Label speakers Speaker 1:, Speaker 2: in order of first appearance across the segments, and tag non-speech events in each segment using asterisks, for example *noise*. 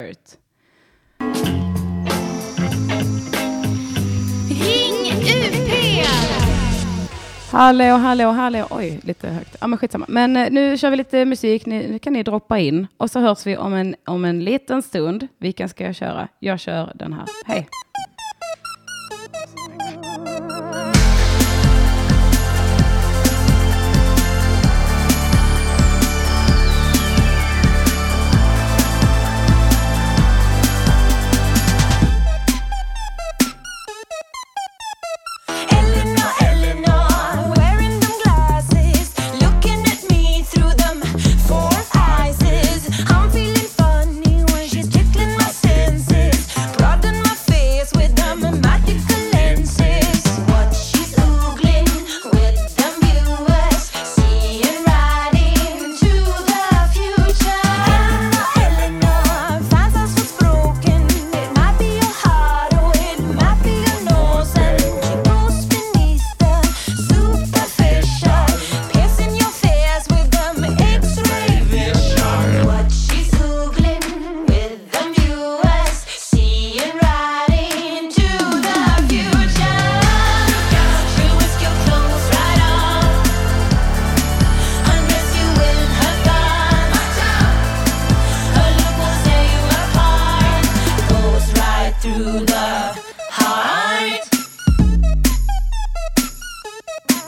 Speaker 1: förut.
Speaker 2: Ring UP!
Speaker 1: Hallå, hallå, hallå. Oj, lite högt. Ja, men skitsamma. Men eh, nu kör vi lite musik. Ni, nu kan ni droppa in. Och så hörs vi om en, om en liten stund. Vilken ska jag köra? Jag kör den här. Hej.
Speaker 3: Eleanor, Eleanor, wearing them glasses, looking at me through them four eyes. I'm feeling funny when she's tickling my senses, broaden my face with them magical lenses. What she's oogling with them viewers, seeing right into the future. Eleanor, Eleanor, finds us what's broken. It might be your heart or it might be your nose, and she goes beneath the superficial, piercing your fears with them X-ray vision. What she's googling with them viewers, seeing right into the future. Look out, she whisk your clothes right off, unless you in her gun. Watch out. Her look will tear you apart. Goes right through the heart. I'm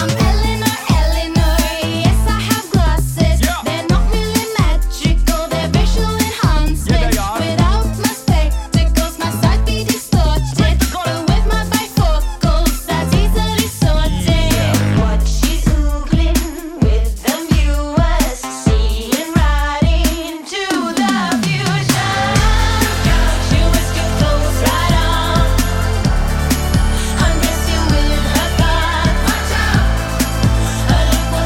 Speaker 3: Eleanor, Eleanor. Yes, I have glasses. They're not millimetrical. They're visual enhancement. Without my spectacles, my sight be distorted. But with my bifocals, that's easily sorted. What she's googling with the viewers, seeing right into the future. She whisk your clothes right off. Undress you in her gut. Watch out. Her look will tear you apart. No way.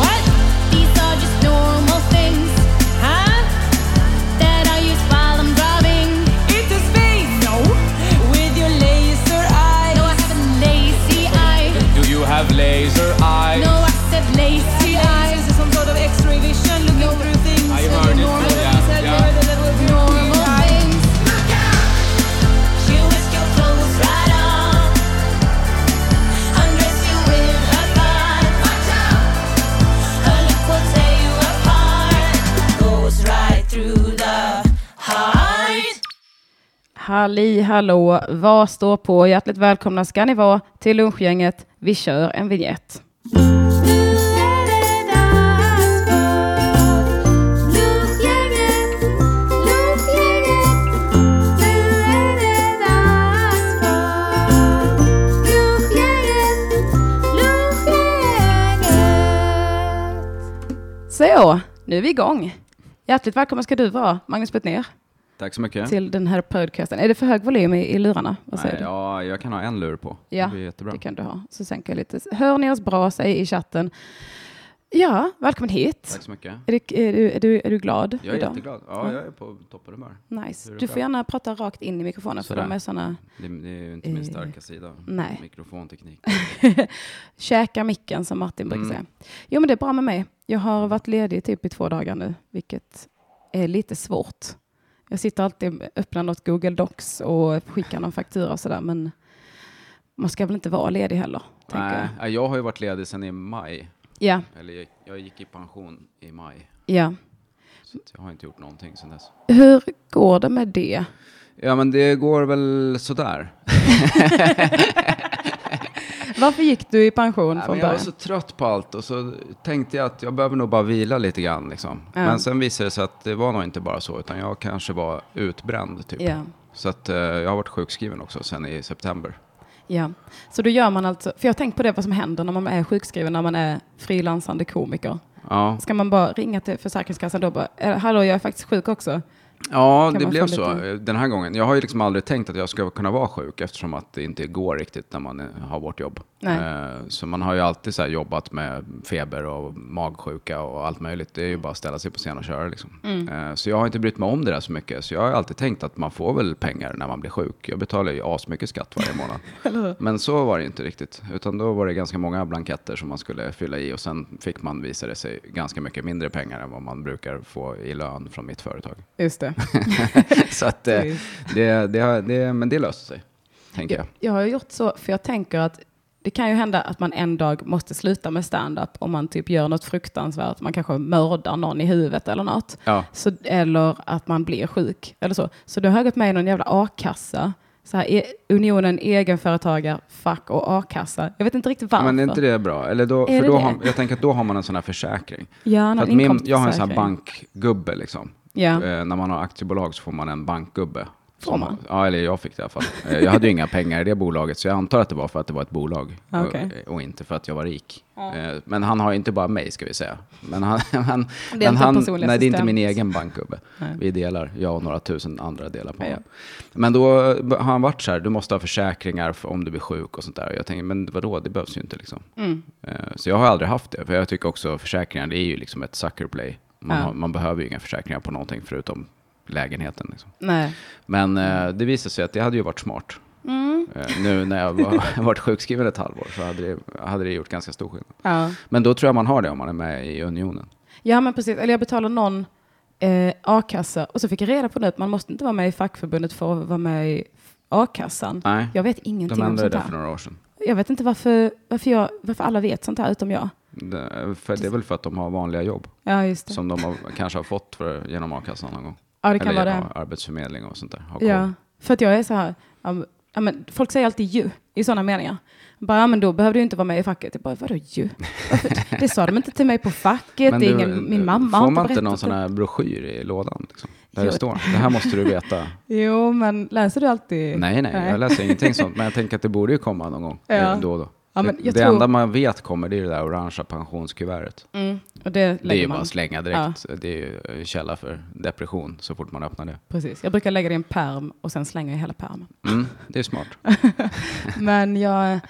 Speaker 3: What? These are just normal things, huh? That I use while I'm driving into space. No. With your laser eye. No, I have a lazy eye.
Speaker 4: Do you have laser eyes?
Speaker 3: No, I said lazy eye. This is some sort of X-ray vision, looking through things.
Speaker 4: I heard it,
Speaker 3: Normal
Speaker 4: yeah,
Speaker 3: things, I
Speaker 4: yeah.
Speaker 3: heard it, that was normal things. Look out! She whisk your clothes right off. Undress you in her butt. Watch out! Her look will tear you apart. Goes right through the heart.
Speaker 1: Halli hallå, vad står på? Hjärtligt välkomna ska ni vara till lunchgänget. Vi kör en vignett. Så, nu är vi igång. Hjärtligt välkomna ska du vara, Magnus Betnér,
Speaker 4: Tack så mycket.
Speaker 1: till den här podcasten. Är det för hög volym i, i lurarna? Vad säger
Speaker 4: Nej,
Speaker 1: du?
Speaker 4: ja, jag kan ha en lur på.
Speaker 1: Ja,
Speaker 4: det blir jättebra.
Speaker 1: Det kan du ha. Så sänker jag lite. Hör ni oss bra, säg i chatten. Ja, välkommen hit.
Speaker 4: Tack så mycket.
Speaker 1: Är du, är, du, är, du, är du glad
Speaker 4: Jag är
Speaker 1: idag?
Speaker 4: jätteglad. Ja, jag är på topphumör.
Speaker 1: Nice.
Speaker 4: Hur
Speaker 1: Du
Speaker 4: är det
Speaker 1: får
Speaker 4: själv?
Speaker 1: gärna prata rakt in i mikrofonen, för
Speaker 4: Sådär.
Speaker 1: de är sådana,
Speaker 4: Det, det är ju inte min
Speaker 1: Eh,
Speaker 4: starka sida.
Speaker 1: nej.
Speaker 4: Mikrofonteknik.
Speaker 1: *laughs* käka micken som Martin brukar
Speaker 4: Mm.
Speaker 1: säga. Jo, men det är bra med mig. Jag har varit ledig typ i två dagar nu, vilket är lite svårt. Jag sitter alltid öppnar något Google Docs och skickar någon faktura och sådär, men man ska väl inte vara ledig heller, tänker jag.
Speaker 4: Nej, jag. jag har ju varit ledig sedan i maj.
Speaker 1: Ja,
Speaker 4: Eller jag, jag gick i pension i maj.
Speaker 1: ja.
Speaker 4: Så att jag har inte gjort någonting sedan dess.
Speaker 1: Hur går det med det?
Speaker 4: Ja, men det går väl sådär.
Speaker 1: Varför gick du i pension
Speaker 4: Nej,
Speaker 1: från
Speaker 4: men jag var
Speaker 1: början?
Speaker 4: så trött på allt och så tänkte jag att jag behöver nog bara vila lite grann. Liksom.
Speaker 1: Ja.
Speaker 4: Men sen visade det sig att det var nog inte bara så, utan jag kanske var utbränd. Typ.
Speaker 1: Ja,
Speaker 4: Så att, eh, jag har varit sjukskriven också sen i september.
Speaker 1: ja. Så då gör man alltså, för jag har tänkt på det vad som händer när man är sjukskriven, när man är frilansande komiker.
Speaker 4: Ja,
Speaker 1: Ska man bara ringa till Försäkringskassan då och bara, "Eh, hallå jag är faktiskt sjuk också.
Speaker 4: Ja,
Speaker 1: Kan
Speaker 4: det
Speaker 1: man
Speaker 4: blev
Speaker 1: få
Speaker 4: så
Speaker 1: lite-
Speaker 4: eh, den här gången. Jag har ju liksom aldrig tänkt att jag ska kunna vara sjuk eftersom att det inte går riktigt när man eh, har vårt jobb.
Speaker 1: Nej.
Speaker 4: Eh, Så man har ju alltid så här jobbat med feber och magsjuka och allt möjligt. Det är ju bara att ställa sig på scen och köra. Liksom.
Speaker 1: Mm.
Speaker 4: Eh, Så jag har inte brytt mig om det där så mycket. Så jag har ju alltid tänkt att man får väl pengar när man blir sjuk. Jag betalar ju asmycket skatt
Speaker 1: *laughs*
Speaker 4: varje månad. Men så var det inte riktigt. Utan då var det ganska många blanketter som man skulle fylla i och sen fick man, visade det sig, ganska mycket mindre pengar än vad man brukar få i lön från mitt företag.
Speaker 1: Just det.
Speaker 4: Så att, eh, det, det, har- det, men det löser sig, tänker jag.
Speaker 1: Jag, jag har gjort så, för jag tänker att det kan ju hända att man en dag måste sluta med stand-up om man typ gör något fruktansvärt. Man kanske mördar någon i huvudet eller något.
Speaker 4: Ja.
Speaker 1: Så, eller att man blir sjuk eller så. Så du har jag gått med i någon jävla a-kassa. Så här, e- Unionen egenföretagare, fack och a-kassa. Jag vet inte riktigt varför.
Speaker 4: Men är inte det bra? Eller då,
Speaker 1: alltså. Är
Speaker 4: för
Speaker 1: det
Speaker 4: då
Speaker 1: det?
Speaker 4: har, jag tänker att då har man en sån här försäkring.
Speaker 1: ja,
Speaker 4: För
Speaker 1: någon
Speaker 4: att min, jag har en sån
Speaker 1: inkomstförsäkring.
Speaker 4: här bankgubbe liksom.
Speaker 1: Ja.
Speaker 4: Eh, när man har aktiebolag så får man en bankgubbe.
Speaker 1: Får
Speaker 4: Som-
Speaker 1: man?
Speaker 4: Ja, eller jag fick det i alla fall. Eh, Jag hade ju inga pengar i det bolaget, så jag antar att det var för att det var ett bolag
Speaker 1: Ah, okej.
Speaker 4: och, och inte för att jag var rik. Eh, Men han har ju inte bara mig, ska vi säga. Men han, *laughs* han,
Speaker 1: inte
Speaker 4: men
Speaker 1: en
Speaker 4: han,
Speaker 1: personlig
Speaker 4: nej, det är inte min
Speaker 1: assistent.
Speaker 4: egen bankgubbe.
Speaker 1: Nej.
Speaker 4: Vi delar, jag och några tusen andra delar på
Speaker 1: Ja, ja.
Speaker 4: honom. Men då har han varit så här, du måste ha försäkringar för om du blir sjuk och sånt där. Och jag tänker, men vadå, det behövs ju inte liksom.
Speaker 1: mm,
Speaker 4: Eh, Så jag har aldrig haft det, för jag tycker också försäkringar, det är ju liksom ett sucker play. Man,
Speaker 1: Ja.
Speaker 4: har, man behöver ju inga försäkringar på någonting förutom lägenheten. Liksom.
Speaker 1: Nej.
Speaker 4: Men eh, det visade sig att det hade ju varit smart. Eh, nu när jag var, *laughs* varit sjukskriven ett halvår så hade det, hade det gjort ganska stor skillnad.
Speaker 1: Ja.
Speaker 4: Men då tror jag man har det om man är med i Unionen.
Speaker 1: Ja, men precis. Eller jag betalade någon eh, a-kassa och så fick jag reda på nu att man måste inte vara med i fackförbundet för att vara med i a-kassan.
Speaker 4: Nej,
Speaker 1: Jag vet
Speaker 4: de
Speaker 1: ingenting om
Speaker 4: ändrade
Speaker 1: sånt
Speaker 4: det för
Speaker 1: här.
Speaker 4: några år sedan.
Speaker 1: Jag vet inte varför, varför, jag, varför alla vet sånt här utom jag.
Speaker 4: Det, för det är väl för att de har vanliga jobb
Speaker 1: Ja, just det.
Speaker 4: som de har, kanske har fått för, genom a-kassan någon gång.
Speaker 1: ja, det kan
Speaker 4: Eller
Speaker 1: vara det.
Speaker 4: genom arbetsförmedling och sånt där. Har koll.
Speaker 1: Ja, för att jag är så här, ja, men- ja, men folk säger alltid ju i sådana meningar. Bara, ja, men då behöver du inte vara med i facket. Jag bara, vadå ju?
Speaker 4: *laughs*
Speaker 1: Varför? Det sa de inte till mig på facket. Det är
Speaker 4: du,
Speaker 1: ingen, min mamma har
Speaker 4: Får
Speaker 1: inte
Speaker 4: man inte
Speaker 1: berättat
Speaker 4: någon sån
Speaker 1: det.
Speaker 4: här broschyr i lådan? Liksom, där
Speaker 1: Jo.
Speaker 4: det står, det här måste
Speaker 1: *laughs*
Speaker 4: du veta.
Speaker 1: Jo, men läser du alltid?
Speaker 4: Nej, nej, jag läser ingenting sånt. Men jag tänker att det borde ju komma någon gång
Speaker 1: Ja.
Speaker 4: eh, då och då.
Speaker 1: Ja, men
Speaker 4: det
Speaker 1: jag
Speaker 4: det
Speaker 1: tror-
Speaker 4: enda man vet kommer det är det där orangea pensionskuvertet.
Speaker 1: Mm, och det lägger
Speaker 4: Det är ju
Speaker 1: man.
Speaker 4: bara att slänga direkt. Det är ju en källa för depression så fort man öppnar det.
Speaker 1: Precis. Jag brukar lägga det i en perm och sen slänger jag hela permen.
Speaker 4: Mm, det är smart.
Speaker 1: Men jag...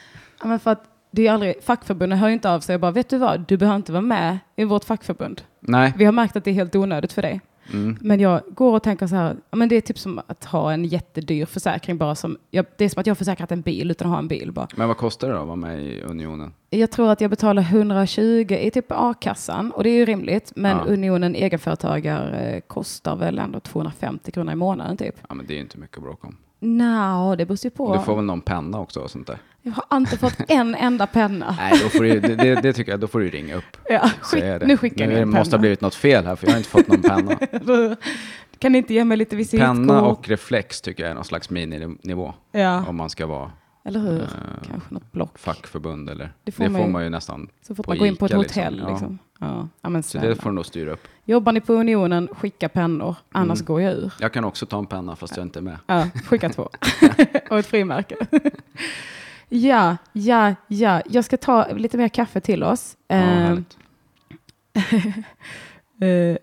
Speaker 1: Ja, men för att det är aldrig, fackförbunden hör ju inte av sig och bara, vet du vad, du behöver inte vara med i vårt fackförbund.
Speaker 4: Nej,
Speaker 1: Vi har märkt att det är helt onödigt för dig.
Speaker 4: mm,
Speaker 1: Men jag går och tänker så här, ja, men det är typ som att ha en jättedyr försäkring bara som, jag, det är som att jag har försäkrat en bil utan att ha en bil bara.
Speaker 4: men vad kostar det då att vara med i Unionen?
Speaker 1: Jag tror att jag betalar 120 i typ a-kassan och det är ju rimligt, men
Speaker 4: Ja.
Speaker 1: Unionen egenföretagare eh, kostar väl ändå 250 kronor i månaden typ.
Speaker 4: Ja, men det är ju inte mycket att bråka om.
Speaker 1: Nja, det beror ju på.
Speaker 4: Du får väl någon penna också och sånt där?
Speaker 1: Jag har inte fått en enda penna.
Speaker 4: *laughs* Nej, då får du, det, det, det tycker jag, då får du ringa upp.
Speaker 1: Ja,
Speaker 4: Säga
Speaker 1: skick,
Speaker 4: det.
Speaker 1: nu skickar ni
Speaker 4: det
Speaker 1: en
Speaker 4: måste
Speaker 1: penna.
Speaker 4: ha blivit något fel här, för jag har inte fått någon penna.
Speaker 1: *laughs* Kan ni inte ge mig lite visitkort?
Speaker 4: Penna och reflex tycker jag är någon slags mininivå.
Speaker 1: Ja,
Speaker 4: Om man ska vara
Speaker 1: eller hur?
Speaker 4: eh,
Speaker 1: Kanske något block.
Speaker 4: fackförbund eller...
Speaker 1: Det
Speaker 4: Det
Speaker 1: får
Speaker 4: får,
Speaker 1: man ju-
Speaker 4: man ju nästan.
Speaker 1: Så får
Speaker 4: på
Speaker 1: man gå in på ett
Speaker 4: Ica,
Speaker 1: hotell
Speaker 4: liksom.
Speaker 1: liksom.
Speaker 4: Ja.
Speaker 1: Ja. Ja, men
Speaker 4: Så det
Speaker 1: snälla.
Speaker 4: får de nog styra upp.
Speaker 1: Jobbar ni på Unionen, skicka pennor. Annars
Speaker 4: Mm.
Speaker 1: går jag ur.
Speaker 4: Jag kan också ta en penna fast jag inte är med.
Speaker 1: Ja, skicka
Speaker 4: *laughs*
Speaker 1: två. och ett frimärke. *laughs* ja, ja, ja. Jag ska ta lite mer kaffe till oss.
Speaker 4: Ja,
Speaker 1: Eh,
Speaker 4: härligt.
Speaker 1: Eh,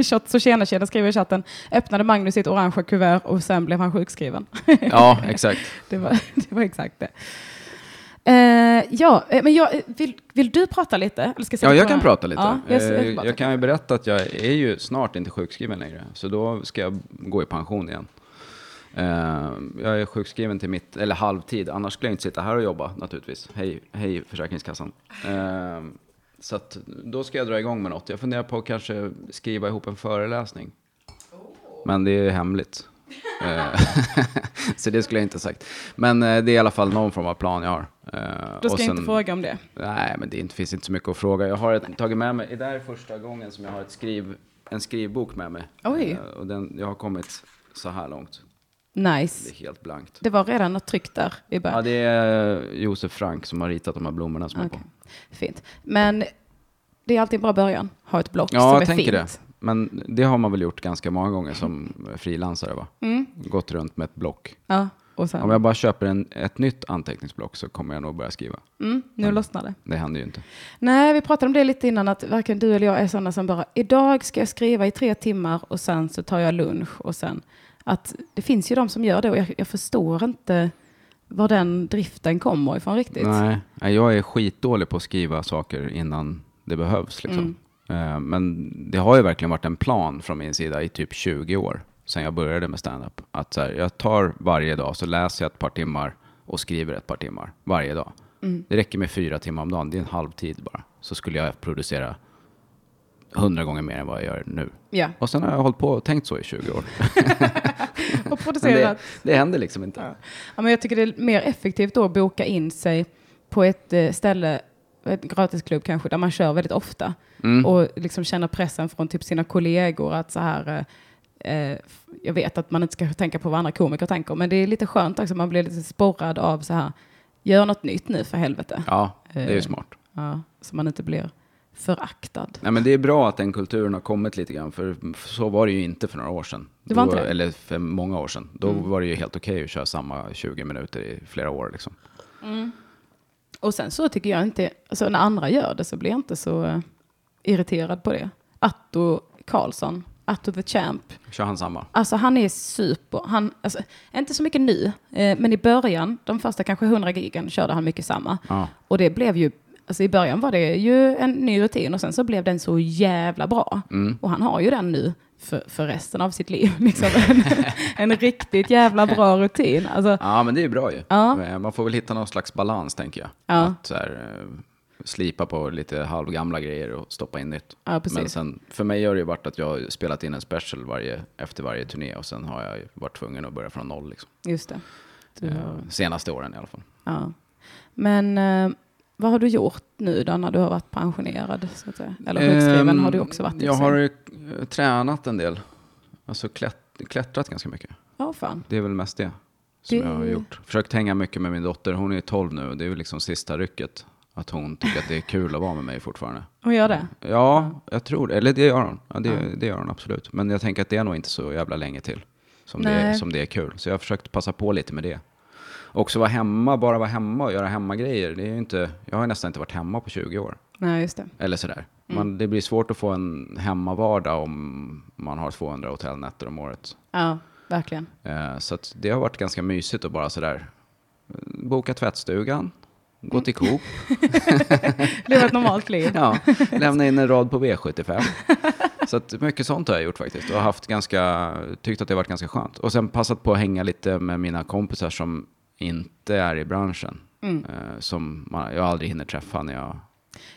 Speaker 1: *laughs* Shot, så tjena tjena skriver i chatten. Öppnade Magnus sitt orangea kuvert och sen blev han sjukskriven. *laughs*
Speaker 4: ja exakt.
Speaker 1: Det var, *laughs* det var exakt det. Eh, ja, eh, men jag, eh, vill, vill du prata lite? Eller ska sätta
Speaker 4: Ja, jag
Speaker 1: på
Speaker 4: kan
Speaker 1: den?
Speaker 4: prata lite.
Speaker 1: Ja, jag,
Speaker 4: Eh,
Speaker 1: jag,
Speaker 4: jag kan ju berätta att jag är ju snart inte sjukskriven längre, så då ska jag gå i pension igen. Eh, Jag är sjukskriven till mitt, eller halvtid, annars skulle jag inte sitta här och jobba naturligtvis. Hej, hej Försäkringskassan. Eh, Så att då ska jag dra igång med något. Jag funderar på att kanske skriva ihop en föreläsning. Men det är hemligt. Eh, *laughs* så det skulle jag inte ha sagt. Men eh, det är i alla fall någon form av plan jag har. Eh,
Speaker 1: Då ska
Speaker 4: och
Speaker 1: jag inte
Speaker 4: sen-
Speaker 1: fråga om det.
Speaker 4: Nej, men det är inte, finns inte så mycket att fråga. Jag har ett, tagit med mig, det där är första gången som jag har ett skriv, en skrivbok med mig.
Speaker 1: Oj.
Speaker 4: Eh, och den, jag har kommit så här långt. Det
Speaker 1: Nice.
Speaker 4: är helt blankt.
Speaker 1: Det var redan något tryck där i
Speaker 4: Ja,
Speaker 1: början.
Speaker 4: det är eh, Josef Frank som har ritat de här blommorna som är
Speaker 1: Okej.
Speaker 4: på.
Speaker 1: Fint. Men det är alltid en bra början. Ha ett block
Speaker 4: Ja,
Speaker 1: som är
Speaker 4: jag tänker
Speaker 1: fint.
Speaker 4: det. Men
Speaker 1: *laughs*
Speaker 4: det har man väl gjort ganska många gånger som frilansare, va? Gått runt med ett block.
Speaker 1: Mm. Ja. Och sen,
Speaker 4: Om jag bara köper en, ett nytt anteckningsblock så kommer jag nog börja skriva.
Speaker 1: mm, nu lossnar det.
Speaker 4: Det händer ju inte.
Speaker 1: Nej, vi pratade om det lite innan, att varken du eller jag är sådana som bara, idag ska jag skriva i tre timmar och sen så tar jag lunch och sen, att det finns ju de som gör det och jag, jag förstår inte var den driften kommer ifrån riktigt.
Speaker 4: Nej, nej, jag är skitdålig på att skriva saker innan det behövs. Liksom.
Speaker 1: Mm.
Speaker 4: Eh, Men det har ju verkligen varit en plan från min sida i typ 20 år sedan jag började med stand-up. Att så här, jag tar varje dag, så läser jag ett par timmar och skriver ett par timmar varje dag.
Speaker 1: Mm.
Speaker 4: Det räcker med fyra timmar om dagen, det är en halvtid bara. Så skulle jag producera hundra gånger mer än vad jag gör nu.
Speaker 1: Ja,
Speaker 4: Och sen har jag hållit på och tänkt så i
Speaker 1: *laughs*
Speaker 4: 20 år.
Speaker 1: Alltså, och
Speaker 4: Men
Speaker 1: producerat.
Speaker 4: det, det händer liksom inte.
Speaker 1: Ja, men jag tycker det är mer effektivt då att boka in sig på ett eh, ställe, ett gratisklubb kanske, där man kör väldigt ofta. Och liksom känner pressen från typ sina kollegor att så här, eh, eh, jag vet att man inte ska tänka på vad andra komiker tänker, men det är lite skönt också, man blir lite sporrad av så här, gör något nytt nu för helvete.
Speaker 4: Ja, det är ju
Speaker 1: Eh.
Speaker 4: smart.
Speaker 1: Ja, så man inte blir föraktad.
Speaker 4: Nej, men det är bra att den kulturen har kommit lite grann, för så var det ju inte för några år sedan.
Speaker 1: Det var
Speaker 4: Då-
Speaker 1: inte det? Mm.
Speaker 4: Eller för många år sedan. Då var det ju helt okej att köra samma 20 minuter i flera år. Liksom.
Speaker 1: Och sen så tycker jag inte, alltså när andra gör det så blir jag inte så eh, irriterad på det. Atto Karlsson, Atto the Champ,
Speaker 4: Kör han samma?
Speaker 1: Alltså han är super. Han, alltså, inte så mycket nu, eh, men i början, de första kanske 100 gigen körde han mycket samma.
Speaker 4: Ja.
Speaker 1: Och det blev ju, alltså i början var det ju en ny rutin och sen så blev den så jävla bra.
Speaker 4: Mm.
Speaker 1: Och han har ju den nu för, för resten av sitt liv. *laughs* Liksom. En, en riktigt jävla bra rutin. Alltså,
Speaker 4: Ja, men det är ju bra ju.
Speaker 1: Ja.
Speaker 4: Eh, Man får väl hitta någon slags balans, tänker jag.
Speaker 1: Ja.
Speaker 4: Att så här, eh, slipa på lite halvgamla grejer och stoppa in nytt.
Speaker 1: Ja, precis.
Speaker 4: Men sen, för mig har det ju varit att jag har spelat in en special varje, efter varje turné och sen har jag ju varit tvungen att börja från noll. Liksom.
Speaker 1: just det. Du,
Speaker 4: Eh, Senaste åren i alla fall.
Speaker 1: ja. Men eh, vad har du gjort nu då när du har varit pensionerad? Så att säga? Eller sjukskriven
Speaker 4: Ehm,
Speaker 1: har du också varit. i och
Speaker 4: Jag
Speaker 1: för sig.
Speaker 4: har ju eh, tränat en del. Alltså klätt, klättrat ganska mycket.
Speaker 1: Ja, fan.
Speaker 4: Det är väl mest det som
Speaker 1: Det-
Speaker 4: jag har gjort. Försökt hänga mycket med min dotter. Hon är 12 nu och det är väl liksom sista rycket. Att hon tycker att det är kul att vara med mig fortfarande.
Speaker 1: Och gör det?
Speaker 4: Ja, jag tror det. Eller det gör hon. Ja, det, det gör hon absolut. Men jag tänker att det är nog inte så jävla länge till som, det är,
Speaker 1: Nej.
Speaker 4: som det är kul. Så jag har försökt passa på lite med det. Också vara hemma, bara vara hemma och göra hemmagrejer. Det är ju inte, jag har ju nästan inte varit hemma på 20 år.
Speaker 1: Nej, just det.
Speaker 4: Eller sådär. Man, det blir svårt att få en hemmavardag om man har 200 hotellnätter om året.
Speaker 1: Ja, verkligen.
Speaker 4: Eh, så att det har varit ganska mysigt att bara sådär eh, boka tvättstugan, gå till Coop,
Speaker 1: Leva ett normalt liv.
Speaker 4: *laughs* ja, lämna in en rad på V75. Så att mycket sånt har jag gjort faktiskt och haft ganska, tyckt att det har varit ganska skönt. Och sen passat på att hänga lite med mina kompisar som inte är i branschen. Eh, som man, jag aldrig hinner träffa när jag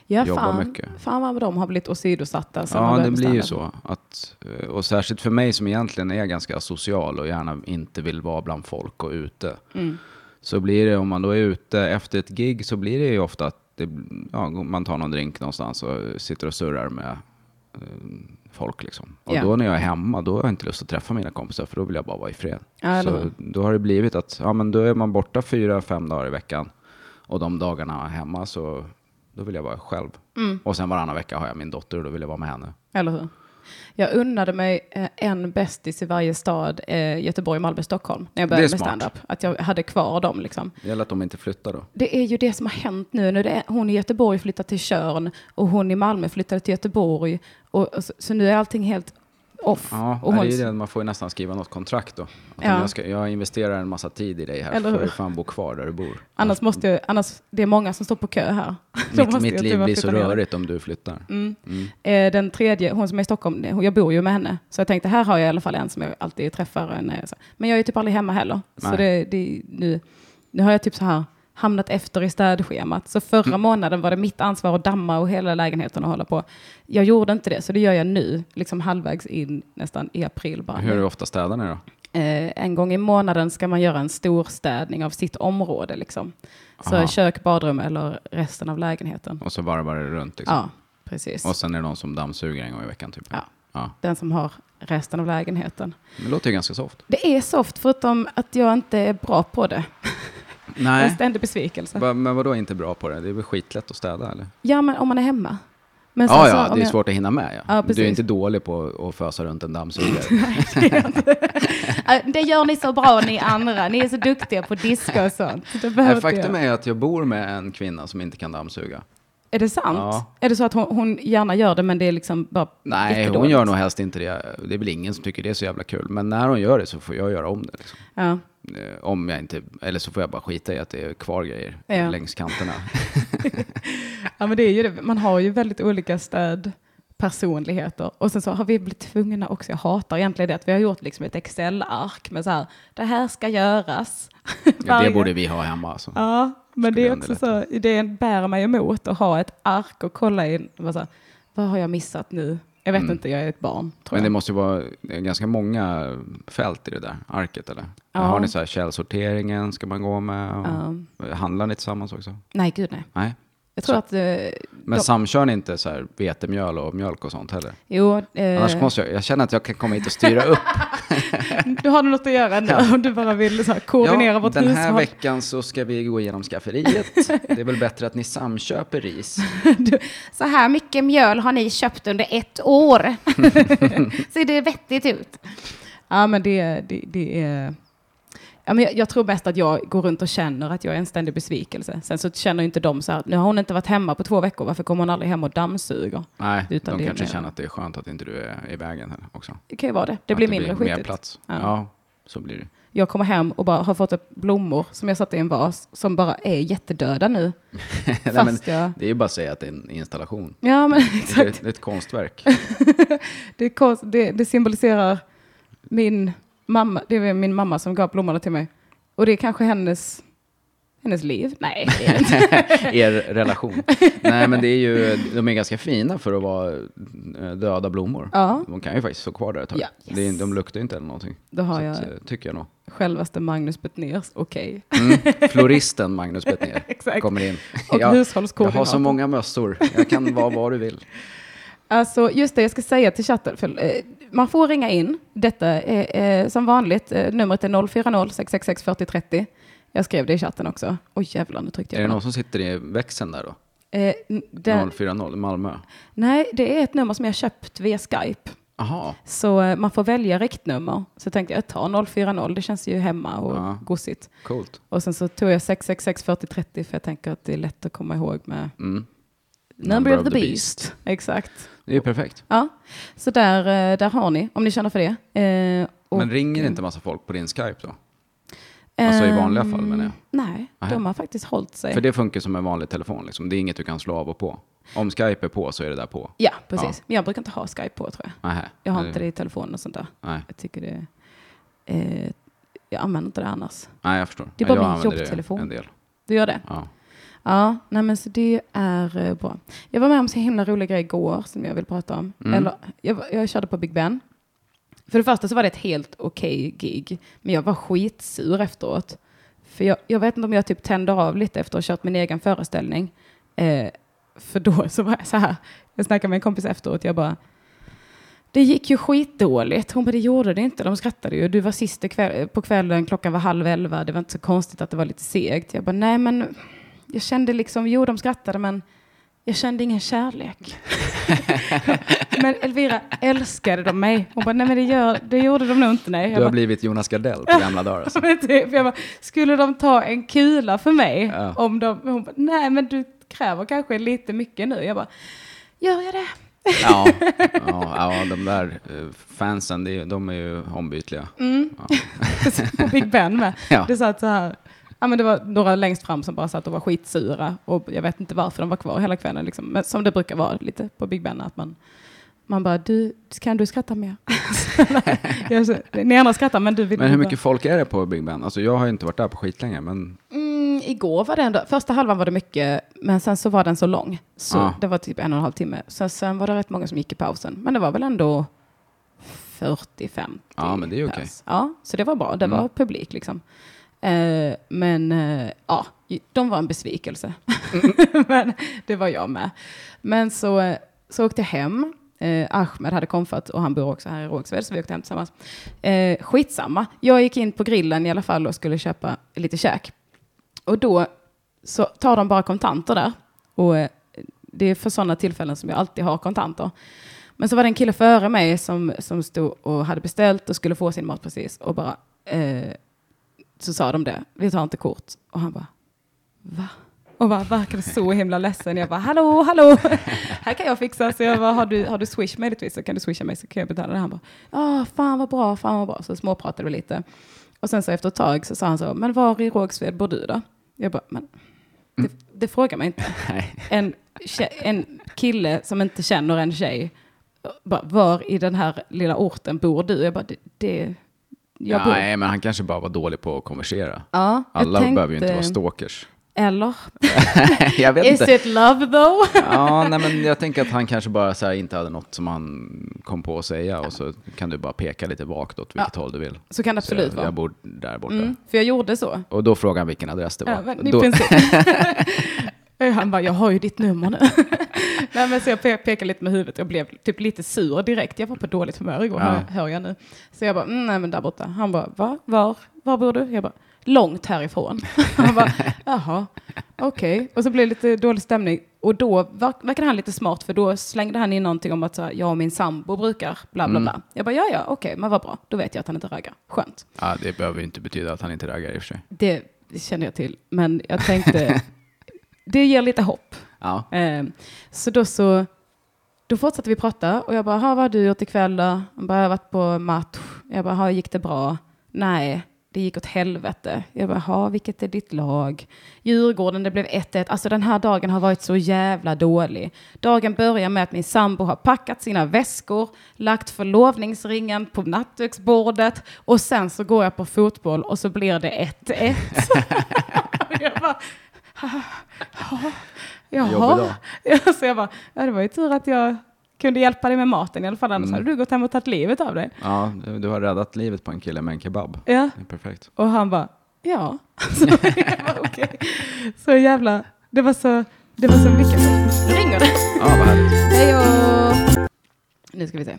Speaker 1: Ja,
Speaker 4: Jobba
Speaker 1: fan,
Speaker 4: mycket.
Speaker 1: fan vad de har blivit åsidosatta. sen de
Speaker 4: Ja, det
Speaker 1: började
Speaker 4: blir ju
Speaker 1: stand-up.
Speaker 4: så. Att, eh, och särskilt för mig som egentligen är ganska social och gärna inte vill vara bland folk och ute.
Speaker 1: Mm.
Speaker 4: Så blir det, om man då är ute efter ett gig, så blir det ju ofta att det, ja, man tar någon drink någonstans och sitter och surrar med eh, folk. Liksom. Och
Speaker 1: Ja.
Speaker 4: då när jag är hemma, då har jag inte lust att träffa mina kompisar, för då vill jag bara vara i fred.
Speaker 1: Ja, eller
Speaker 4: så
Speaker 1: hur?
Speaker 4: då har det blivit att ja, men då är man borta fyra, fem dagar i veckan. Och de dagarna jag är hemma, så då vill jag vara själv.
Speaker 1: Mm.
Speaker 4: Och sen varannan vecka har jag min dotter och då vill jag vara med henne.
Speaker 1: Eller hur? Jag unnade mig eh, en bästis i varje stad, eh, Göteborg, Malmö, Stockholm, när jag
Speaker 4: Det är
Speaker 1: började med
Speaker 4: smart.
Speaker 1: stand-up. Att jag hade kvar dem liksom.
Speaker 4: Det gäller att de inte flyttar då.
Speaker 1: Det är ju det som har hänt nu. nu det är, hon i Göteborg flyttade till Tjörn och hon i Malmö flyttade till Göteborg. Och, och så, så nu är allting helt off.
Speaker 4: Ja,
Speaker 1: och
Speaker 4: det är
Speaker 1: hon,
Speaker 4: ju det, man får ju nästan skriva något kontrakt då. Att om
Speaker 1: Ja.
Speaker 4: jag, ska, jag investerar en massa tid i dig här,
Speaker 1: Eller
Speaker 4: får
Speaker 1: hur?
Speaker 4: du fan bo kvar där du bor.
Speaker 1: annars måste jag, annars, det är många som står på kö här. *laughs* Då
Speaker 4: Mitt,
Speaker 1: måste
Speaker 4: mitt
Speaker 1: jag
Speaker 4: liv
Speaker 1: tyvärr
Speaker 4: blir så
Speaker 1: flytta ner.
Speaker 4: rörigt om du flyttar. Mm.
Speaker 1: Eh, Den tredje, hon som är i Stockholm, det- jag bor ju med henne. Så jag tänkte, här har jag i alla fall en som jag alltid träffar. och En, eh, så. Men jag är typ aldrig hemma heller. Så
Speaker 4: Nej.
Speaker 1: det, det, nu, nu har jag typ så här hamnat efter i städschemat. Så förra
Speaker 4: Mm.
Speaker 1: månaden var det mitt ansvar att damma och hela lägenheten och hålla på. Jag gjorde inte det, så det gör jag nu, liksom halvvägs in nästan i april bara.
Speaker 4: Hur ofta städar ni då?
Speaker 1: Eh, en gång i månaden ska man göra en stor städning av sitt område. Liksom. Så
Speaker 4: Aha.
Speaker 1: kök, badrum eller resten av lägenheten.
Speaker 4: Och så varvar det runt liksom.
Speaker 1: Ja, precis.
Speaker 4: Och sen är det någon som dammsuger en gång i veckan typ.
Speaker 1: Ja.
Speaker 4: ja.
Speaker 1: Den som har resten av lägenheten.
Speaker 4: Det låter ju ganska soft.
Speaker 1: Det är soft förutom att jag inte är bra på det. En
Speaker 4: Nej.
Speaker 1: ständig besvikelse.
Speaker 4: Va, men vadå inte bra på det? Det är väl skitlätt att städa eller?
Speaker 1: Ja, men om man är hemma. Men sen
Speaker 4: Ja,
Speaker 1: så
Speaker 4: ja,
Speaker 1: om
Speaker 4: det är
Speaker 1: jag- *laughs*
Speaker 4: svårt att hinna med.
Speaker 1: Ja,
Speaker 4: Ja. du är
Speaker 1: precis.
Speaker 4: inte dålig på att fösa runt
Speaker 1: *laughs*
Speaker 4: en dammsugare.
Speaker 1: Eh, Det gör ni så bra ni andra. Ni är så duktiga på disco och sånt. Det behöver
Speaker 4: Nej,
Speaker 1: inte
Speaker 4: Faktum
Speaker 1: jag.
Speaker 4: är att jag bor med en kvinna som inte kan dammsuga.
Speaker 1: Är det sant?
Speaker 4: Ja.
Speaker 1: Är det så att hon, hon gärna gör det, men det är liksom bara
Speaker 4: Nej, hon
Speaker 1: jättedåligt?
Speaker 4: gör nog helst inte det. Det är väl ingen som tycker det är så jävla kul. Men när hon gör det så får jag göra om det. Liksom.
Speaker 1: Ja.
Speaker 4: Eh, Om jag inte, eller så får jag bara skita i att det är kvar grejer
Speaker 1: Ja. *laughs*
Speaker 4: längs kanterna.
Speaker 1: ja, men det är ju det. Man har ju väldigt olika stöd personligheter. Och sen så har vi blivit tvungna också, jag hatar egentligen det, att vi har gjort liksom ett Excel-ark med så här, det här ska göras.
Speaker 4: Ja, det
Speaker 1: Varje-
Speaker 4: borde vi ha hemma. Alltså.
Speaker 1: Ja, men det
Speaker 4: Skulle
Speaker 1: är också så,
Speaker 4: underlätta.
Speaker 1: det bär mig emot att ha ett ark och kolla in, vad, så här, vad har jag missat nu? Jag vet inte, jag är ett barn. Tror
Speaker 4: Mm. Men det
Speaker 1: jag.
Speaker 4: måste ju vara ganska många fält i det där arket, eller?
Speaker 1: Ja.
Speaker 4: Har ni så här källsorteringen ska man gå med? Och Handlar ni tillsammans också?
Speaker 1: Nej, gud nej.
Speaker 4: Nej.
Speaker 1: Jag tror
Speaker 4: Så-
Speaker 1: att... Eh,
Speaker 4: Men
Speaker 1: de-
Speaker 4: samkör ni inte så här vetemjöl och mjölk och sånt heller?
Speaker 1: Jo, eh,
Speaker 4: Annars måste jag, jag känner att jag kan komma hit och
Speaker 1: *laughs*
Speaker 4: styra upp.
Speaker 1: du har något att göra nu om du bara vill så här, koordinera vårt
Speaker 4: den här
Speaker 1: hushåll.
Speaker 4: veckan så ska vi gå igenom skafferiet. Det är väl bättre att ni samköper ris.
Speaker 1: Du, så här mycket mjöl har ni köpt under ett *laughs* år. Ser det vettigt ut? Ja, men det, det, det är... Ja, men jag, jag tror mest att jag går runt och känner att jag är en ständig besvikelse. Sen så känner ju inte de så här, nu har hon inte varit hemma på två veckor, varför kommer hon aldrig hem och dammsuger?
Speaker 4: Nej,
Speaker 1: *laughs* Utan det
Speaker 4: de
Speaker 1: är
Speaker 4: kanske
Speaker 1: mer-
Speaker 4: känner att det är skönt att inte du är i vägen här också.
Speaker 1: Det kan ju vara det. Det
Speaker 4: att
Speaker 1: blir mindre
Speaker 4: blir mer
Speaker 1: skitigt.
Speaker 4: plats.
Speaker 1: Ja.
Speaker 4: Ja. så blir det. *laughs*
Speaker 1: Jag kommer hem och bara har fått upp blommor som jag satte i en vas som bara är jättedöda nu.
Speaker 4: Nej, men
Speaker 1: Fast jag...
Speaker 4: det är ju bara att säga att det är en installation.
Speaker 1: Ja, men *laughs*
Speaker 4: Det är
Speaker 1: exakt.
Speaker 4: ett,
Speaker 1: *laughs*
Speaker 4: ett konstverk.
Speaker 1: Det, är konst- det, det symboliserar min mamma, det är min mamma som gav blommorna till mig. Och det är kanske hennes, hennes liv. Nej, det är det
Speaker 4: *laughs*
Speaker 1: inte.
Speaker 4: er relation. Nej, men det är ju, de är ganska fina för att vara eh, döda blommor.
Speaker 1: Ja.
Speaker 4: De kan ju faktiskt stå kvar där ett tag.
Speaker 1: Ja, yes.
Speaker 4: det är, de luktar ju inte eller någonting.
Speaker 1: Då har
Speaker 4: Så
Speaker 1: jag
Speaker 4: att, eh, tycker jag nog.
Speaker 1: självaste Magnus Betnérs, okej. *laughs*
Speaker 4: Mm. Floristen Magnus Betnér
Speaker 1: Exakt.
Speaker 4: kommer in.
Speaker 1: Och
Speaker 4: jag, jag
Speaker 1: hushållskoordinator.
Speaker 4: har så många mössor. Jag kan vara vad
Speaker 1: *laughs*
Speaker 4: du vill.
Speaker 1: Alltså, just det, jag ska säga till chatten, för, eh, man får ringa in. Detta är eh, som vanligt, eh, numret är 040 666 4030. Jag skrev det i chatten också. Oj jävlar, nu tryckte
Speaker 4: Är det
Speaker 1: jag på
Speaker 4: någon som sitter i växeln där då?
Speaker 1: den. Eh, n- den.
Speaker 4: 040 Malmö.
Speaker 1: Nej, det är ett nummer som jag köpt via Skype.
Speaker 4: Aha.
Speaker 1: Så eh, man får välja riktnummer. Så tänkte jag, jag tar 040, det känns ju hemma och
Speaker 4: Ja.
Speaker 1: gosigt.
Speaker 4: coolt.
Speaker 1: Och sen så tog jag 666 4030 för jag tänker att det är lätt att komma ihåg med
Speaker 4: Mm.
Speaker 1: Number, of, the beast. Exakt.
Speaker 4: Det är ju perfekt.
Speaker 1: Ja, så där, eh, där har ni, om ni känner för det. Eh, och-
Speaker 4: Men ringer inte massa folk på din Skype då? alltså i vanliga fall, menar jag.
Speaker 1: ehm, Nej,
Speaker 4: Nej.
Speaker 1: de har faktiskt hållit sig.
Speaker 4: För det funkar som en vanlig telefon liksom. Det är inget du kan slå av och på. Om Skype är på så är det där på.
Speaker 1: Ja, precis. Men jag brukar inte ha Skype på tror jag.
Speaker 4: Nähä.
Speaker 1: Jag har
Speaker 4: Eller-
Speaker 1: inte det i telefonen och sånt där.
Speaker 4: Nej,
Speaker 1: Jag tycker det... Eh, jag använder inte det annars.
Speaker 4: nej jag förstår.
Speaker 1: Det är bara
Speaker 4: jag
Speaker 1: min
Speaker 4: använder det
Speaker 1: jobbtelefon.
Speaker 4: En del.
Speaker 1: Du gör det?
Speaker 4: Ja.
Speaker 1: Ja, nej men så det är eh, bra. Jag var med om så himla rolig grej igår som jag vill prata om. Eller, jag, var- jag körde på Big Ben. För det första så var det ett helt okej gig, men jag var skitsur efteråt. För jag, jag vet inte om jag typ tände av lite efter att ha kört min egen föreställning. Eh, för då så var jag så här, jag snackade med en kompis efteråt, jag bara, det gick ju skitdåligt. Hon bara, det gjorde det inte. De skrattade ju. Du var sist i kväll, eh, på kvällen, klockan var halv elva. Det var inte så konstigt att det var lite segt. Jag bara, nej men jag kände liksom, jo de skrattade men jag kände ingen kärlek. *laughs* men Elvira älskade de mig. Hon bara, nej men det, gör, det gjorde de nog inte. Nej.
Speaker 4: Du
Speaker 1: Jag
Speaker 4: har
Speaker 1: bara,
Speaker 4: blivit Jonas Gardell på
Speaker 1: *laughs*
Speaker 4: gamla dagar alltså. *laughs*
Speaker 1: men typ, jag bara, skulle de ta en kula för mig?
Speaker 4: Ja.
Speaker 1: Om de, hon bara, nej men du kräver kanske lite mycket nu. Jag bara, gör jag det? *laughs*
Speaker 4: Ja, ja, ja de där eh, fansen, det är, de är ju ombytliga.
Speaker 1: Mm. på Big Ben med.
Speaker 4: Ja.
Speaker 1: Det satt så här. Ja, men det var några längst fram som bara satt och var skitsura och jag vet inte varför de var kvar hela kvällen. Liksom. Men som det brukar vara lite på Big Ben, att man, man bara, du, kan du skratta mer? *laughs* Jag så- Ni andra skrattar, men du vill
Speaker 4: Men hur
Speaker 1: inte.
Speaker 4: mycket folk är det på Big Ben? Alltså jag har ju inte varit där på skitlänge, men
Speaker 1: Mm, igår var det ändå, första halvan var det mycket, men sen så var den så lång. Så
Speaker 4: Ja.
Speaker 1: det var typ en och en halv timme. Så sen var det rätt många som gick i pausen. Men det var väl ändå 40-50
Speaker 4: Ja, men det är ju
Speaker 1: pers.
Speaker 4: okej.
Speaker 1: Ja, så det var bra. Det var
Speaker 4: Mm.
Speaker 1: publik liksom. Eh, men eh, ja, de var en besvikelse.
Speaker 4: Mm.
Speaker 1: *laughs* men det var jag med. Men så, eh, så åkte jag hem. Eh, Ahmed hade komfat och han bor också här i Rågsved så vi åkte hem tillsammans. Eh, skitsamma. Jag gick in på grillen i alla fall och skulle köpa lite käk. Och då så tar de bara kontanter där. Och eh, det är för sådana tillfällen som jag alltid har kontanter. Men så var det en kille före mig som, som stod och hade beställt och skulle få sin mat precis och bara eh, så sa de det, vi tar inte kort. Och han bara, va? Och bara verkade så himla ledsen. Jag bara, hallå, hallå, *laughs* här kan jag fixa. Så jag bara, har du, har du swish möjligtvis så kan du swisha mig så kan jag betala det. Han bara, ja, fan vad bra, fan vad bra. Så småpratade vi lite. Och sen så efter ett tag så sa han så, men var i Rågsved bor du då? Jag bara, men det, det frågar man inte.
Speaker 4: Mm. *laughs* Nej.
Speaker 1: En, tje- en kille som inte känner en tjej, bara, var i den här lilla orten bor du? Jag bara, det, det jag bor.
Speaker 4: Nej, men han kanske bara var dålig på att konversera.
Speaker 1: Ja, jag
Speaker 4: Alla behöver ju inte
Speaker 1: tänkte- *laughs*
Speaker 4: vara stalkers.
Speaker 1: Eller?
Speaker 4: *laughs* jag vet
Speaker 1: Is
Speaker 4: inte.
Speaker 1: it love though? *laughs*
Speaker 4: Ja, nej, men jag tänker att han kanske bara så här, inte hade något som han kom på att säga och så kan du bara peka lite vagt åt vilket håll du vill.
Speaker 1: Så kan det absolut
Speaker 4: så jag,
Speaker 1: vara.
Speaker 4: jag bor där borta.
Speaker 1: Mm, för jag gjorde så.
Speaker 4: Och då frågade han vilken adress det var.
Speaker 1: Ja, men i
Speaker 4: då, *laughs*
Speaker 1: princip. Han bara, jag har ju ditt nummer nu. Nej, men så jag pe- pekade lite med huvudet. Jag blev typ lite sur direkt. Jag var på dåligt humör igår,
Speaker 4: Ja.
Speaker 1: hör, hör jag nu. Så jag bara, mm, nej men där borta. Han bara, va? Var? Var bor du? Jag bara, långt härifrån. *laughs* Han bara, jaha, okej. Och så blev det lite dålig stämning. Och då verk- verkade han lite smart, för då slängde han in någonting om att så här, jag och min sambo brukar bla
Speaker 4: Mm.
Speaker 1: bla bla. Jag bara, ja ja, okej, men vad bra. Då vet jag att han inte raggar. Skönt.
Speaker 4: ja, det behöver ju inte betyda att han inte raggar i och för sig.
Speaker 1: Det känner jag till, men jag tänkte, det ger lite hopp.
Speaker 4: Ja.
Speaker 1: Eh, Så då så, då fortsatte vi prata och jag bara, "Ha, vad har du gjort ikväll då? Han bara, jag har varit på match. Jag bara, "Ha, gick det bra? Nej, det gick åt helvete. Jag bara, "Ha, vilket är ditt lag? Djurgården, det blev 1-1. Alltså den här dagen har varit så jävla dålig. Dagen börjar med att min sambo har packat sina väskor, lagt förlovningsringen på nattduksbordet och sen så går jag på fotboll och så blir det 1-1. *laughs* jag bara,
Speaker 4: Jobbig
Speaker 1: Jaha. *laughs*
Speaker 4: dag.
Speaker 1: Ja, så jag bara, ja, det var ju tur att jag kunde hjälpa dig med maten i alla fall, annars
Speaker 4: Mm.
Speaker 1: hade du gått hem och tagit livet av dig.
Speaker 4: ja, du du har räddat livet på en kille med en kebab.
Speaker 1: Ja.
Speaker 4: Det är perfekt.
Speaker 1: Och han bara, ja. *laughs* Så, jag bara, okej. så jävla, det var så, det var så mycket. Nu ringer det.
Speaker 4: Ja, vad härligt.
Speaker 1: Hej då. Nu ska vi se.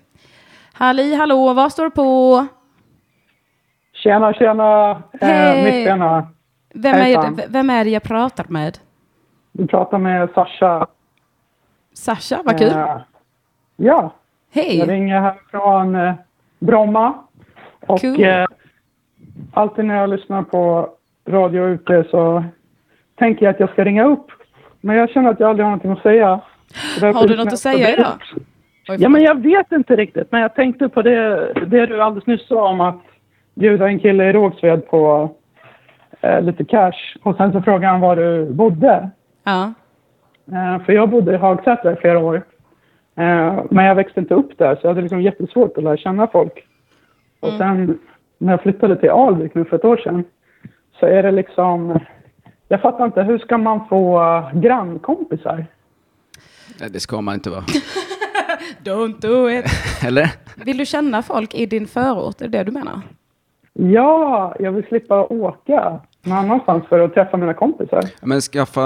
Speaker 1: Halli hallå, vad står det på?
Speaker 2: Tjena, tjena!
Speaker 1: Hej.
Speaker 2: Eh, mitt tjena.
Speaker 1: Vem är,
Speaker 2: Hejsan.
Speaker 1: det- vem är det jag pratar med?
Speaker 2: Du pratar med Sasha.
Speaker 1: Sasha, vad kul.
Speaker 2: Eh, ja, jag
Speaker 1: Hej.
Speaker 2: ringer här från eh, Bromma. Och
Speaker 1: Cool.
Speaker 2: eh, alltid när jag lyssnar på radio ute så tänker jag att jag ska ringa upp. Men jag känner att jag aldrig har någonting att säga. Så därför
Speaker 1: Har du något att
Speaker 2: lyssnar jag på
Speaker 1: säga
Speaker 2: dig.
Speaker 1: idag? Oj,
Speaker 2: Ja, men jag vet inte riktigt. Men jag tänkte på det, det du alldeles nyss sa om att bjuda en kille i Rågsved på eh, lite cash. Och sen så frågade han var du bodde.
Speaker 1: Ja.
Speaker 2: Eh, För jag bodde i Hagsätra i flera år. Eh, Men jag växte inte upp där så jag hade liksom jättesvårt att lära känna folk. Och
Speaker 1: Mm.
Speaker 2: sen när jag flyttade till Alvik nu för ett år sedan så är det liksom... Jag fattar inte, hur ska man få eh, grannkompisar?
Speaker 4: Nej, Det ska man inte vara. *laughs*
Speaker 1: Don't do it.
Speaker 4: Eller?
Speaker 1: Vill du känna folk i din förort? Är det det du menar?
Speaker 2: Ja, jag vill slippa åka någon annanstans för att träffa mina kompisar.
Speaker 4: Men skaffa,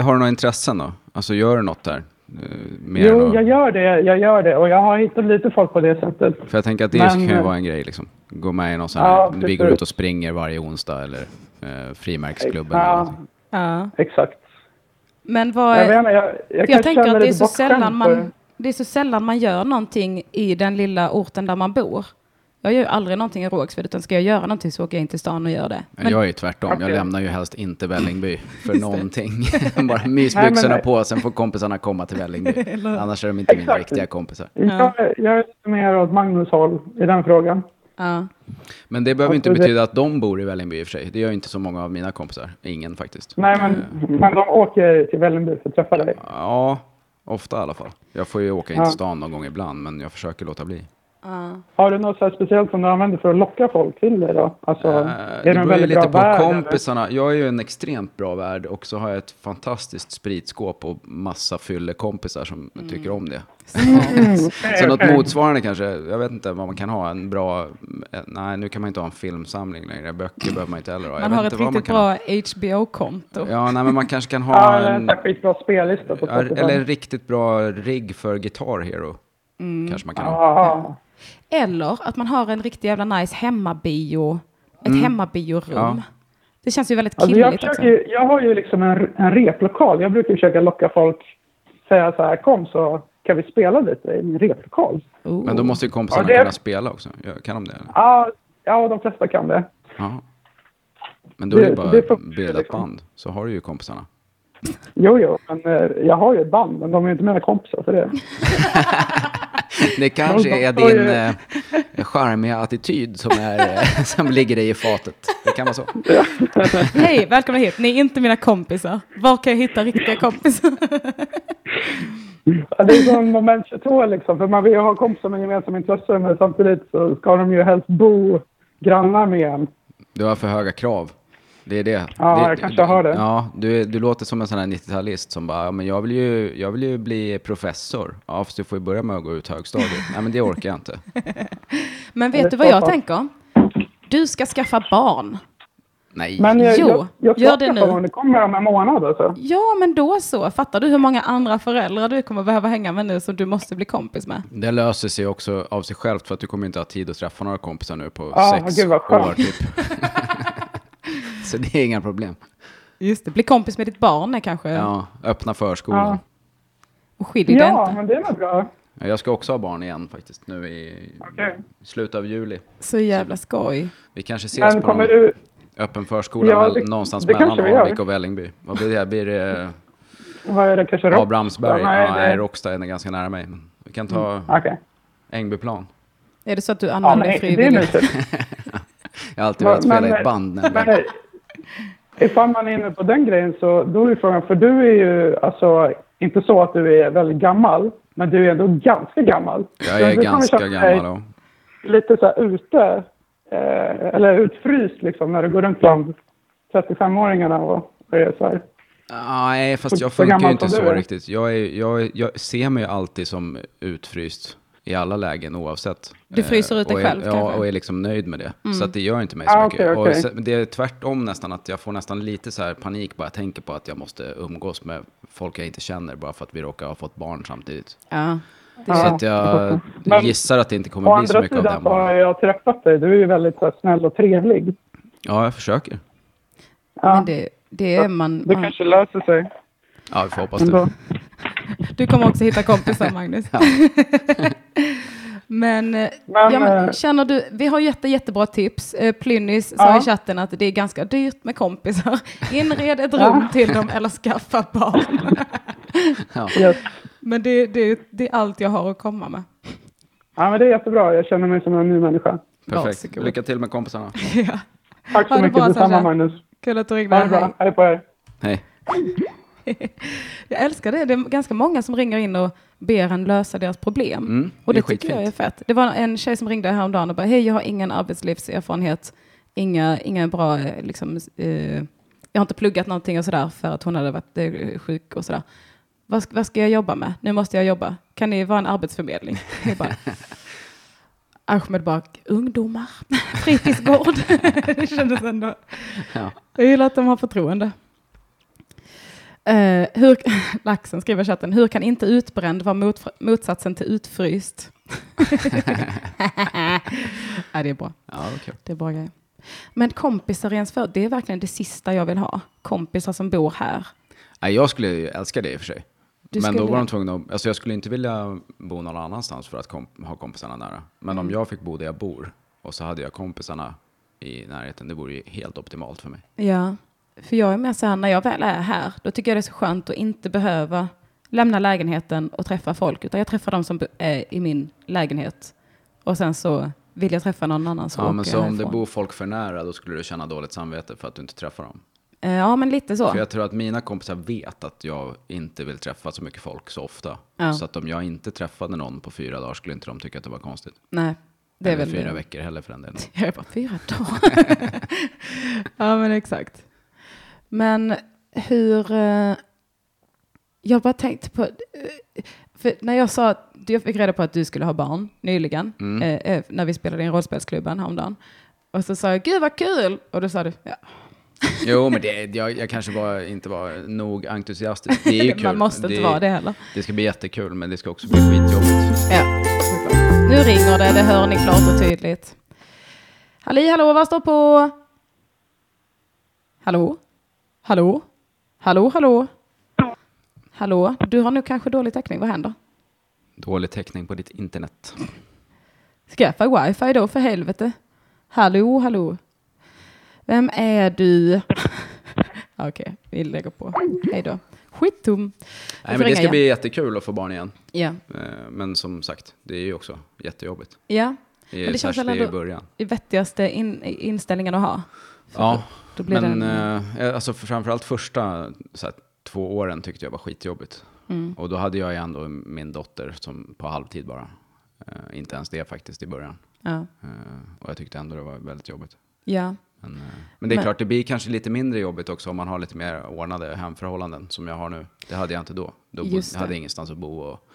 Speaker 4: har du några intressen då? Alltså gör du något där? Eh, Mer än
Speaker 2: Jo,
Speaker 4: att-
Speaker 2: jag gör det, jag gör det och jag har hittat lite folk på det sättet.
Speaker 4: För jag tänker att det
Speaker 2: Men,
Speaker 4: kan ju
Speaker 2: eh,
Speaker 4: vara en grej liksom. Gå med i någon sån här,
Speaker 2: Ja,
Speaker 4: vi går
Speaker 2: precis.
Speaker 4: ut och springer varje onsdag eller eh, frimärksklubben eller
Speaker 2: Ja,
Speaker 4: någonting.
Speaker 1: Ja.
Speaker 2: exakt.
Speaker 1: Men vad...
Speaker 2: Jag, menar, jag, jag,
Speaker 1: För jag
Speaker 2: kanske
Speaker 1: tänker
Speaker 2: känner
Speaker 1: att det är,
Speaker 2: lite
Speaker 1: så
Speaker 2: bortskämd
Speaker 1: sällan
Speaker 2: för-
Speaker 1: man, det är så sällan man gör någonting i den lilla orten där man bor. Jag gör ju aldrig någonting i Rågsved, utan ska jag göra någonting så åker jag in till stan och gör det.
Speaker 4: Men jag är ju tvärtom, jag
Speaker 2: Okej.
Speaker 4: lämnar ju helst inte Vällingby för
Speaker 2: *laughs*
Speaker 4: någonting. Bara mysbyxorna
Speaker 2: Nej, men-
Speaker 4: på, sen får kompisarna komma till
Speaker 2: *laughs*
Speaker 4: Vällingby. Annars är de inte mina
Speaker 2: Exakt.
Speaker 4: riktiga kompisar.
Speaker 2: Jag, jag är lite mer åt Magnus håll i den frågan.
Speaker 1: Ja.
Speaker 4: Men det behöver ju inte
Speaker 2: Alltså, det-
Speaker 4: betyda att de bor i Vällingby i och för sig. Det gör ju inte så många av mina kompisar. Ingen faktiskt.
Speaker 2: Nej, men, men de åker till Vällingby för att träffa dig.
Speaker 4: Mm. Ja, ofta i alla fall. Jag får ju åka in
Speaker 2: Ja.
Speaker 4: till stan någon gång ibland, men jag försöker låta bli.
Speaker 2: Har du något så här speciellt som du använder för att locka folk till dig då? Alltså,
Speaker 4: Eh,
Speaker 2: är
Speaker 4: det
Speaker 2: du en
Speaker 4: beror ju
Speaker 2: väldigt
Speaker 4: lite
Speaker 2: bra
Speaker 4: på
Speaker 2: värd?
Speaker 4: kompisarna. Jag är ju en extremt bra värd och så har jag ett fantastiskt spritskåp och massa fyllekompisar som
Speaker 1: Mm.
Speaker 4: tycker
Speaker 1: *laughs*
Speaker 4: om det.
Speaker 2: Mm.
Speaker 4: så något motsvarande kanske, jag vet inte vad man kan ha, en bra, eh, nej nu kan man inte ha en filmsamling längre, böcker behöver man inte heller ha.
Speaker 1: Man
Speaker 4: Jag vet
Speaker 1: har
Speaker 4: inte
Speaker 1: ett
Speaker 4: vad
Speaker 1: riktigt
Speaker 4: man kan ha.
Speaker 1: bra HBO-konto.
Speaker 4: Ja, nej men man kanske kan
Speaker 2: *laughs* Ja,
Speaker 4: ha
Speaker 2: eller en
Speaker 4: en,
Speaker 2: sån här skitbra spellista på Spotify.
Speaker 4: eller en riktigt bra rigg för Guitar Hero. Kanske man kan ha.
Speaker 2: Ja,
Speaker 1: Eller att man har en riktigt jävla nice hemmabio, ett hemmabiorum.
Speaker 4: Ja.
Speaker 1: Det känns ju väldigt
Speaker 2: Mm. alltså, jag,
Speaker 1: killigt också.
Speaker 2: försöker, ju- jag har ju liksom en, en replokal. Jag brukar försöka locka folk säga så här, kom så kan vi spela lite i min replokal.
Speaker 1: Oh.
Speaker 4: Men då måste ju kompisarna
Speaker 2: Ja, det-
Speaker 4: kunna spela också. Gör- Kan de det? Eller?
Speaker 2: Ja, ja, de flesta kan det.
Speaker 4: Ja. Men då är det ju
Speaker 2: Det-
Speaker 4: bara
Speaker 2: det får-
Speaker 4: att bilda ett
Speaker 2: liksom.
Speaker 4: band, så har du ju kompisarna.
Speaker 2: Jo, jo, men eh, jag har ju ett band, men de är ju inte mina kompisar för det.
Speaker 4: Det kanske
Speaker 2: de
Speaker 4: är
Speaker 2: får
Speaker 4: din
Speaker 2: ju-
Speaker 4: eh, charmiga attityd som, är, eh, *laughs* som ligger dig i fatet. Det kan vara så.
Speaker 1: Hej, välkomna hit. Ni är inte mina kompisar. Var kan jag hitta riktiga kompisar?
Speaker 2: Ja, Det är som moment 22 liksom, för man vill ju ha kompisar med gemensamma intressen, men samtidigt så ska de ju helst bo grannar med en.
Speaker 4: Du har för höga krav. Det är det.
Speaker 2: Ja,
Speaker 4: det,
Speaker 2: jag kanske har det.
Speaker 4: Ja, du, är- du låter som en sån här 90-talist som bara, ja, men jag vill, ju, jag vill ju bli professor. Ja, fast du får ju börja med att gå ut högstadiet. Nej, men det orkar jag inte.
Speaker 1: Men vet du vad jag tänker? Du ska skaffa barn.
Speaker 4: Nej.
Speaker 2: Men jag,
Speaker 1: Jo,
Speaker 2: jag, jag
Speaker 1: gör det
Speaker 2: skrattar
Speaker 1: nu. Mm.
Speaker 2: för honom. Det kommer om en månad alltså.
Speaker 1: Ja, men då så. Fattar du hur många andra föräldrar du kommer behöva hänga med nu som du måste bli kompis med?
Speaker 4: Det löser sig också av sig självt för att du kommer inte ha tid att träffa några kompisar nu på
Speaker 2: Ah,
Speaker 4: sex
Speaker 2: gud, vad skönt.
Speaker 4: år typ. *laughs* Så det är inga problem.
Speaker 1: Just det, bli kompis med ditt barn är kanske
Speaker 4: Ja, öppna förskolan.
Speaker 1: och skilj dig
Speaker 2: Ja,
Speaker 1: inte.
Speaker 2: men det är väl bra.
Speaker 4: Ja. Jag ska också ha barn igen faktiskt nu i
Speaker 2: Okej.
Speaker 4: slutet av juli.
Speaker 1: Så jävla skoj.
Speaker 4: Vi kanske ses
Speaker 2: Men
Speaker 4: på någon
Speaker 2: kommer du...
Speaker 4: öppen förskola
Speaker 2: Ja,
Speaker 4: väl-
Speaker 2: det-
Speaker 4: någonstans
Speaker 2: det
Speaker 4: mellan
Speaker 2: kanske vi gör.
Speaker 4: Alvik och Vällingby. Vad blir det? Blir det
Speaker 2: Vad är det? Kanske rock?
Speaker 4: Abrahamsberg?
Speaker 2: Nej,
Speaker 4: Ja,
Speaker 2: det- Mm.
Speaker 4: nej, Rockstein är ganska nära mig. Men vi kan ta
Speaker 2: Okej.
Speaker 4: Ängbyplan.
Speaker 1: Är det så att du
Speaker 2: Ja,
Speaker 1: använder
Speaker 2: men
Speaker 1: dig
Speaker 2: det är typ.
Speaker 1: frivilligt?
Speaker 4: *laughs*
Speaker 2: mysigt.
Speaker 4: Jag har alltid velat
Speaker 2: Men-
Speaker 4: spela i
Speaker 2: men-
Speaker 4: ett band nämligen.
Speaker 2: Men ifall man är inne på den grejen så då är frågan, för du är ju alltså inte så att du är väldigt gammal, men du är ändå ganska gammal.
Speaker 4: Jag
Speaker 2: Så
Speaker 4: är
Speaker 2: du kommer
Speaker 4: ganska
Speaker 2: känna dig
Speaker 4: gammal och
Speaker 2: Lite så här ute, eh, eller utfryst liksom när du går runt bland 35-åringarna och och är så här.
Speaker 4: Nej, fast
Speaker 2: Så-
Speaker 4: jag
Speaker 2: så
Speaker 4: funkar ju
Speaker 2: gammal
Speaker 4: inte
Speaker 2: som
Speaker 4: så
Speaker 2: du är.
Speaker 4: riktigt. Jag, är, jag, är- jag ser mig ju alltid som utfryst i alla lägen oavsett.
Speaker 1: Du fryser
Speaker 4: Eh,
Speaker 1: ut dig
Speaker 4: och är,
Speaker 1: själv,
Speaker 4: Ja,
Speaker 1: kanske? Mm.
Speaker 4: och är liksom nöjd med det. Så att det gör inte mig så
Speaker 2: Ah,
Speaker 4: mycket.
Speaker 2: okej, okej.
Speaker 4: Och se- det är tvärtom nästan, att jag får nästan lite så här panik bara jag tänker på att jag måste umgås med folk jag inte känner bara för att vi råkar ha fått barn samtidigt.
Speaker 1: Ja.
Speaker 2: Ja.
Speaker 4: Så att jag
Speaker 2: *laughs* Men-
Speaker 4: gissar att det inte
Speaker 2: Å
Speaker 4: kommer bli så
Speaker 2: andra
Speaker 4: mycket av
Speaker 2: sidan
Speaker 4: den
Speaker 2: så har
Speaker 4: barnen.
Speaker 2: jag träffat dig, du är ju väldigt så här, snäll och trevlig.
Speaker 4: Ja, jag försöker.
Speaker 1: Men det, det är man,
Speaker 2: Det
Speaker 1: man...
Speaker 2: kanske löser sig
Speaker 4: Ja, vi får hoppas
Speaker 2: ändå.
Speaker 4: det.
Speaker 1: Du kommer också hitta kompisar, Magnus. *laughs* men, eh,
Speaker 2: Men,
Speaker 1: ja, men
Speaker 2: eh,
Speaker 1: känner du, vi har jätte, jättebra tips. Eh, Plynnis sa
Speaker 2: Ja.
Speaker 1: i chatten att det är ganska dyrt med kompisar.
Speaker 2: *laughs*
Speaker 1: Inred ett rum till dem eller skaffa
Speaker 2: *laughs*
Speaker 1: barn.
Speaker 2: Yes.
Speaker 1: men det, det, det är allt jag har att komma med. *laughs*
Speaker 2: Ja, men det är jättebra. Jag känner mig som en ny människa.
Speaker 4: Perfekt.
Speaker 1: Varsågod.
Speaker 4: Lycka till
Speaker 1: *laughs*
Speaker 4: med kompisarna.
Speaker 1: ja.
Speaker 2: Tack så
Speaker 1: Ha det
Speaker 2: mycket.
Speaker 1: bra,
Speaker 2: Detsamma,
Speaker 1: Sasha.
Speaker 2: Magnus.
Speaker 1: Kul att du
Speaker 2: Ha
Speaker 1: ringde.
Speaker 2: det bra. Hej på er.
Speaker 4: Hej.
Speaker 1: Jag älskar det. Det är ganska många som ringer in och ber en lösa deras problem.
Speaker 4: Mm,
Speaker 1: och
Speaker 4: det
Speaker 1: det,
Speaker 4: är
Speaker 1: tycker jag är
Speaker 4: skitfint.
Speaker 1: fett. Det var en tjej som ringde häromdagen och bara, hej, jag har ingen arbetslivserfarenhet, inga, inga bra, eh, liksom, eh, jag har inte pluggat någonting och sådär för att hon hade varit eh, sjuk och sådär. Vad, ska- vad ska jag jobba med? Nu måste jag jobba. Kan ni vara en arbetsförmedling? Jag bara, Ahmed bara, ungdomar, fritidsgård. *laughs* det kändes ändå...
Speaker 4: Ja.
Speaker 1: Jag gillar att de har förtroende. Eh, hur, *laughs* Laxen skriver i chatten, hur kan inte utbränd vara mot, motsatsen till utfryst? *laughs* Nej, det är bra.
Speaker 4: Ja, det var kul.
Speaker 1: Det är bra grejer. Men kompisar i ens för, det är verkligen det sista jag vill ha. Kompisar som bor här.
Speaker 4: Nej, jag skulle ju älska det i och för sig.
Speaker 1: Du
Speaker 4: men då
Speaker 1: skulle-
Speaker 4: var de tvungna att, alltså jag skulle inte vilja bo någon annanstans för att komp- ha kompisarna nära. Men
Speaker 1: Mm.
Speaker 4: om jag fick bo där jag bor och så hade jag kompisarna i närheten, det vore ju helt optimalt för mig.
Speaker 1: Ja, för jag är mer så här, när jag väl är här, då tycker jag det är så skönt att inte behöva lämna lägenheten och träffa folk, utan jag träffar de som bo- är i min lägenhet. Och sen så vill jag träffa någon annan så
Speaker 4: ja,
Speaker 1: åker
Speaker 4: men
Speaker 1: jag
Speaker 4: så om det
Speaker 1: härifrån.
Speaker 4: bor folk för nära, då skulle du känna dåligt samvete för att du inte träffar dem.
Speaker 1: Eh, Ja, men lite så.
Speaker 4: För jag tror att mina kompisar vet att jag inte vill träffa så mycket folk så ofta.
Speaker 1: Ja.
Speaker 4: Så att om jag inte träffade någon på fyra dagar skulle inte de tycka att det var konstigt.
Speaker 1: Nej, det är
Speaker 4: Eller
Speaker 1: väl
Speaker 4: fyra veckor heller för den delen.
Speaker 1: Jag är bara fyra dagar. *laughs* ja, men exakt. Men hur... eh, Jag bara tänkte på... eh, För när jag sa att jag fick reda på att du skulle ha barn nyligen,
Speaker 4: Mm.
Speaker 1: eh, eh, när vi spelade in rollspelsklubben häromdagen. Och så sa jag, gud vad kul! Och då sa du, ja,
Speaker 4: Jo, men det, jag, jag kanske var, inte var nog entusiastisk. Det är ju
Speaker 1: *laughs*
Speaker 4: kul.
Speaker 1: man måste inte vara det heller.
Speaker 4: Det ska bli jättekul, men det ska också bli skitjobbigt.
Speaker 1: Ja, såklart. Nu ringer det, det hör ni klart och tydligt. Halli hallå, vad står på? Hallå? Hallå? Hallå, hallå? Hallå, du har nog kanske dålig täckning, vad händer?
Speaker 4: Dålig täckning på ditt internet.
Speaker 1: Skaffa wifi då för helvete. Hallå, hallå. Vem är du? *laughs* Ja, Okej, vi lägger på. Hej då. Skittom.
Speaker 4: Nej, men det ska bli jättekul att få barn igen.
Speaker 1: Ja.
Speaker 4: Eh, Men som sagt, det är ju också jättejobbigt.
Speaker 1: ja,
Speaker 4: I,
Speaker 1: Men det känns
Speaker 4: särskilt
Speaker 1: väl
Speaker 4: i
Speaker 1: ändå-
Speaker 4: början.
Speaker 1: i vettigaste in, inställningen att ha. För
Speaker 4: Ja,
Speaker 1: då blir
Speaker 4: men
Speaker 1: det
Speaker 4: eh, alltså för framförallt första så här, två åren tyckte jag var skitjobbigt.
Speaker 1: Mm,
Speaker 4: Och då hade jag ju ändå min dotter som på halvtid bara. Eh, inte ens det faktiskt i början.
Speaker 1: Ja.
Speaker 4: Eh, och jag tyckte ändå det var väldigt jobbigt.
Speaker 1: ja.
Speaker 4: Men, eh, men det är
Speaker 1: Men-
Speaker 4: klart, det blir kanske lite mindre jobbigt också om man har lite mer ordnade hemförhållanden som jag har nu. Det hade jag inte då. Då bo,
Speaker 1: Just det.
Speaker 4: hade jag ingenstans att bo. Och,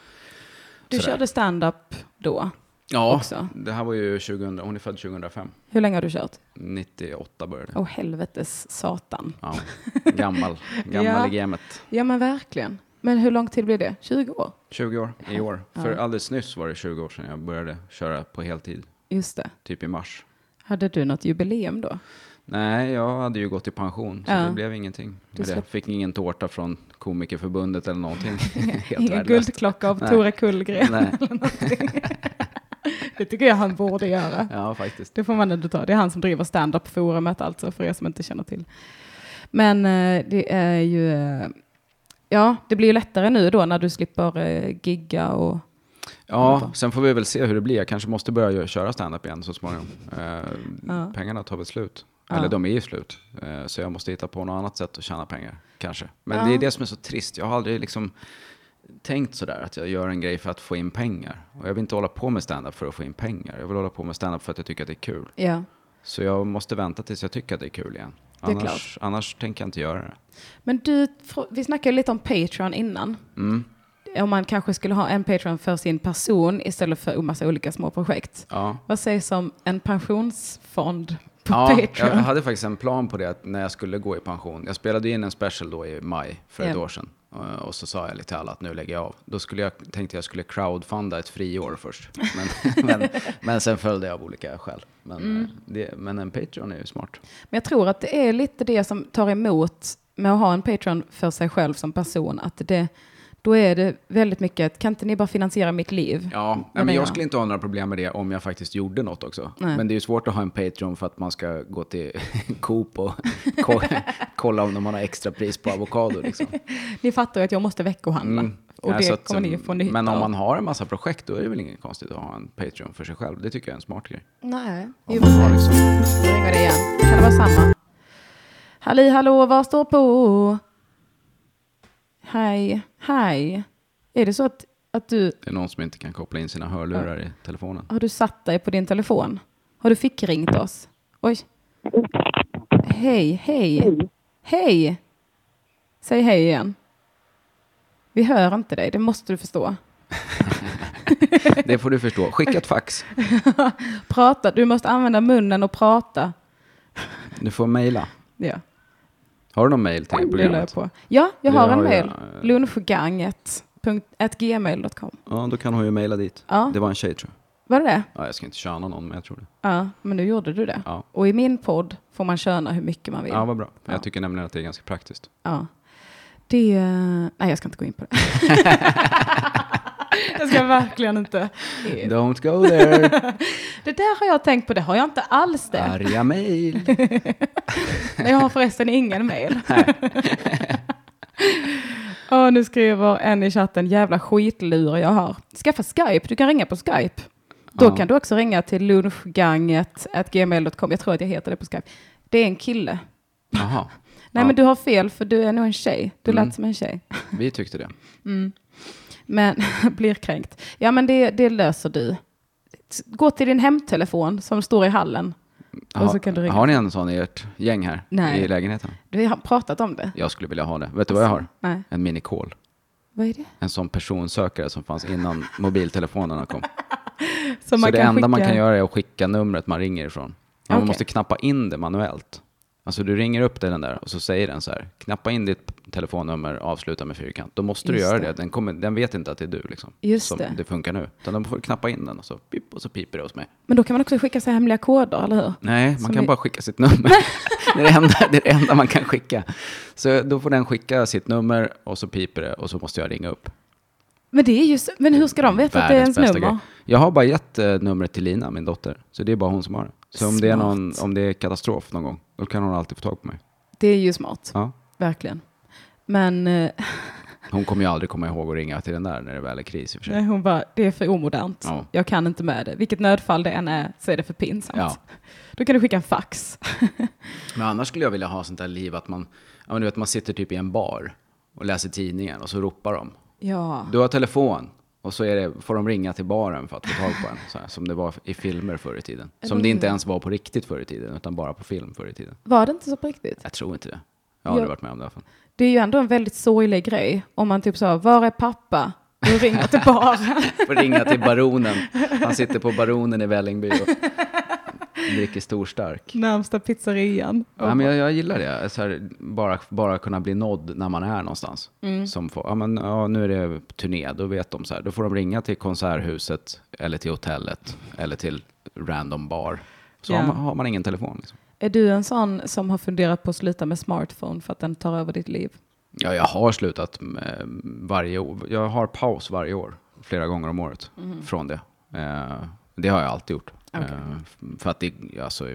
Speaker 1: Du
Speaker 4: Sådär.
Speaker 1: körde stand-up då.
Speaker 4: ja,
Speaker 1: Också.
Speaker 4: det här var ju 2000, hon är född 2005.
Speaker 1: Hur länge har du kört?
Speaker 4: 98 började
Speaker 1: Åh helvetes satan.
Speaker 4: Ja, gammal.
Speaker 1: *laughs*
Speaker 4: Gammal
Speaker 1: Ja.
Speaker 4: i gamet.
Speaker 1: Ja men verkligen. Men hur lång tid blir det? 20 år?
Speaker 4: 20 år i år. För alldeles nyss var det 20 år sedan jag började köra på heltid,
Speaker 1: Just det.
Speaker 4: typ i mars.
Speaker 1: Hade du något jubileum då?
Speaker 4: Nej, jag hade ju gått i pension, så
Speaker 1: Ja.
Speaker 4: det blev ingenting.
Speaker 1: Du
Speaker 4: Med det.
Speaker 1: släpp-
Speaker 4: Fick ingen tårta från Komikerförbundet
Speaker 1: *laughs*
Speaker 4: eller någonting. Helt
Speaker 1: Ingen
Speaker 4: värdelöst.
Speaker 1: guldklocka av
Speaker 4: Nej.
Speaker 1: Tore Kullgren
Speaker 4: Nej,
Speaker 1: eller någonting. det tycker jag han borde göra.
Speaker 4: ja faktiskt.
Speaker 1: Det får man ändå ta. Det är han som driver stand-up-forumet alltså, för er som inte känner till. Men eh, det är ju... eh, Ja, det blir ju lättare nu då när du slipper eh, gigga och...
Speaker 4: Ja, sen får vi väl se hur det blir. Jag kanske måste börja gö- köra stand-up igen så småningom. Eh,
Speaker 1: Ja.
Speaker 4: Pengarna tar väl slut.
Speaker 1: Ja.
Speaker 4: Eller de är ju slut. Eh, så jag måste hitta på något annat sätt att tjäna pengar, kanske. Men
Speaker 1: Ja.
Speaker 4: det är det som är så trist. Jag har aldrig liksom tänkt sådär att jag gör en grej för att få in pengar. Och jag vill inte hålla på med stand-up för att få in pengar. Jag vill hålla på med stand-up för att jag tycker att det är kul.
Speaker 1: Ja.
Speaker 4: Så jag måste vänta tills jag tycker att det är kul igen.
Speaker 1: Det är
Speaker 4: Annars, annars tänker jag inte göra det.
Speaker 1: Men du, fr- vi snackade lite om Patreon innan.
Speaker 4: Mm.
Speaker 1: Om man kanske skulle ha en Patreon för sin person istället för en massa olika små projekt.
Speaker 4: Ja.
Speaker 1: Vad sägs om en pensionsfond på
Speaker 4: Ja, jag
Speaker 1: Patreon?
Speaker 4: hade faktiskt en plan på det att när jag skulle gå i pension. Jag spelade in en special då i maj för ett
Speaker 1: Ja.
Speaker 4: år sedan. Eh, Och så sa jag lite till alla att nu lägger jag av. Då skulle jag, tänkte jag skulle crowdfunda ett friår först. Men, *laughs* men, men sen följde jag av olika skäl. Men,
Speaker 1: Mm.
Speaker 4: eh, det, men en Patreon är ju smart.
Speaker 1: Men jag tror att det är lite det som tar emot med att ha en Patreon för sig själv som person. Att det, då är det väldigt mycket, kan inte ni bara finansiera mitt liv?
Speaker 4: Ja,
Speaker 1: Vad
Speaker 4: men
Speaker 1: menar
Speaker 4: jag skulle inte ha några problem med det om jag faktiskt gjorde något också.
Speaker 1: Nej.
Speaker 4: Men det är ju svårt att ha en Patreon för att man ska gå till *laughs* Coop och ko- *laughs* kolla om de har några extra pris på avokado. Liksom.
Speaker 1: Ni fattar ju att jag måste veckohandla.
Speaker 4: Mm.
Speaker 1: Och
Speaker 4: Ja,
Speaker 1: det
Speaker 4: så att, mm,
Speaker 1: kommer ni få nytta
Speaker 4: Men om
Speaker 1: av.
Speaker 4: man har en massa projekt, då är det väl inget konstigt att ha en Patreon för sig själv. Det tycker jag är en smart grej.
Speaker 1: Nej,
Speaker 4: Om
Speaker 1: ju
Speaker 4: man har
Speaker 1: precis.
Speaker 4: liksom,
Speaker 1: Nu ringer det igen. Kan det vara samma? Halli hallå, vad står på? Hej, hej. Är det så att, att du,
Speaker 4: det är någon som inte kan koppla in sina hörlurar i telefonen.
Speaker 1: har du satt dig på din telefon? Har du fickringt oss? Oj. Hej, hej. Hej. Säg hej igen. Vi hör inte dig, det måste du förstå.
Speaker 4: Det får du förstå. Skicka ett fax.
Speaker 1: Prata, du måste använda munnen och prata.
Speaker 4: Du får mejla.
Speaker 1: Ja,
Speaker 4: Har du någon mejl till
Speaker 1: det la jag
Speaker 4: programmet?
Speaker 1: på. Ja, jag
Speaker 4: Vi
Speaker 1: har
Speaker 4: har
Speaker 1: en
Speaker 4: ju,
Speaker 1: mejl.
Speaker 4: eh,
Speaker 1: Lunchganget.gmail.com.
Speaker 4: Ja, då kan hon ju mejla dit.
Speaker 1: Ja.
Speaker 4: Det var en tjej tror jag.
Speaker 1: Var det det?
Speaker 4: Ja, jag ska inte köna någon, men jag tror det.
Speaker 1: Ja, men nu gjorde du det.
Speaker 4: Ja.
Speaker 1: Och i min podd får man köna hur mycket man vill.
Speaker 4: Ja, vad bra.
Speaker 1: Ja.
Speaker 4: Jag tycker nämligen att det är ganska praktiskt.
Speaker 1: Ja. Det... eh, Nej, jag ska inte gå in på
Speaker 4: *laughs*
Speaker 1: det. jag ska verkligen inte.
Speaker 4: Don't go
Speaker 1: *laughs*
Speaker 4: there.
Speaker 1: Det där har jag tänkt på, det har jag inte alls det.
Speaker 4: Arga mejl.
Speaker 1: Nej, Jag har förresten ingen
Speaker 4: *laughs*
Speaker 1: mail. *laughs* Och nu skriver en i chatten, jävla skitlur jag har. Skaffa Skype, du kan ringa på Skype. Då
Speaker 4: Ja.
Speaker 1: kan du också ringa till lunchganget.gmail.com. Jag tror att jag heter det på Skype. Det är en kille. Nej,
Speaker 4: Jaha, Ja.
Speaker 1: men du har fel, för du är nog en tjej. Du
Speaker 4: Mm.
Speaker 1: lät som en tjej.
Speaker 4: vi tyckte det.
Speaker 1: Men *laughs* blir kränkt. Ja, men det, det löser du. Gå till din hemtelefon som står i hallen. Och så kan du
Speaker 4: Har,
Speaker 1: ringa.
Speaker 4: har ni en sån i ert gäng här
Speaker 1: Nej.
Speaker 4: i lägenheten?
Speaker 1: Vi har pratat om det.
Speaker 4: Jag skulle vilja ha det. Vet du vad jag har?
Speaker 1: Nej,
Speaker 4: En minikol.
Speaker 1: vad är det?
Speaker 4: en sån personsökare som fanns
Speaker 1: *laughs*
Speaker 4: innan mobiltelefonerna kom.
Speaker 1: Som
Speaker 4: så det enda man
Speaker 1: skicka-
Speaker 4: kan göra är att skicka numret man ringer ifrån. Men Man
Speaker 1: Okej.
Speaker 4: måste knappa in det manuellt. Alltså du ringer upp den där och så säger den så här, knappa in ditt telefonnummer, avsluta med fyrkant. Då måste du
Speaker 1: Just
Speaker 4: göra
Speaker 1: det.
Speaker 4: det. Den, kommer, den vet inte att det är du liksom.
Speaker 1: Just
Speaker 4: som
Speaker 1: det.
Speaker 4: det funkar nu. Utan de får knappa in den och så, pip, och så piper det hos mig.
Speaker 1: Men då kan man också skicka så här hemliga koder, eller hur?
Speaker 4: Nej, man
Speaker 1: Som
Speaker 4: kan
Speaker 1: är-
Speaker 4: bara skicka
Speaker 1: *laughs*
Speaker 4: sitt nummer. det, är det, enda, det är det enda man kan skicka. Så då får den skicka sitt nummer och så piper det och så måste jag ringa upp.
Speaker 1: Men, det är just, men hur ska de veta att det är ens
Speaker 4: Världens bästa
Speaker 1: nummer?
Speaker 4: grej. Jag har bara gett eh, numret till Lina, min dotter. Så det är bara hon som har det. Så om det, är
Speaker 1: Smart.
Speaker 4: någon, om det är katastrof någon gång, då kan hon alltid få tag på mig.
Speaker 1: Det är ju smart,
Speaker 4: Ja.
Speaker 1: verkligen. Men eh, *laughs*
Speaker 4: Hon kommer ju aldrig komma ihåg att ringa till den där när det väl är kris i och för sig.
Speaker 1: nej, hon bara, det är för omodernt.
Speaker 4: Ja.
Speaker 1: Jag kan inte med det. Vilket nödfall det än är så är det för pinsamt.
Speaker 4: Ja.
Speaker 1: Då kan du skicka en fax. *laughs*
Speaker 4: Men annars skulle jag vilja ha sånt där liv att man, ja, men du vet, man sitter typ i en bar och läser tidningen och så ropar de.
Speaker 1: ja.
Speaker 4: Du har telefon. Och så är det, får de ringa till baren för att få tag på en, så här, som det var i filmer förr i tiden. Som det inte ens var på riktigt förr i tiden, utan bara på film förr i tiden.
Speaker 1: Var det inte så på riktigt?
Speaker 4: Jag tror inte det. Jag har aldrig
Speaker 1: Ja.
Speaker 4: varit med om det i alla fall.
Speaker 1: Det är ju ändå en väldigt sorglig grej om man typ sa, var är pappa? Du ringer till baren.
Speaker 4: Får ringa till baronen. Han sitter på baronen i Vällingby och dricker stor stark.
Speaker 1: *laughs* Närmsta pizzerian.
Speaker 4: Ja, men jag, jag gillar det. Så här, bara, bara kunna bli nådd när man är någonstans. Som får, ja, men, ja, nu är det turné, då vet de så här. Då får de ringa till konserthuset eller till hotellet eller till random bar. Så
Speaker 1: Ja.
Speaker 4: har, man, har man ingen telefon. Liksom.
Speaker 1: Är du en sån som har funderat på att sluta med smartphone för att den tar över ditt liv?
Speaker 4: Ja, jag har slutat med varje år. Jag har paus varje år, flera gånger om året
Speaker 1: Mhm.
Speaker 4: från det. Eh, det har jag alltid gjort. Eh, för att det, alltså,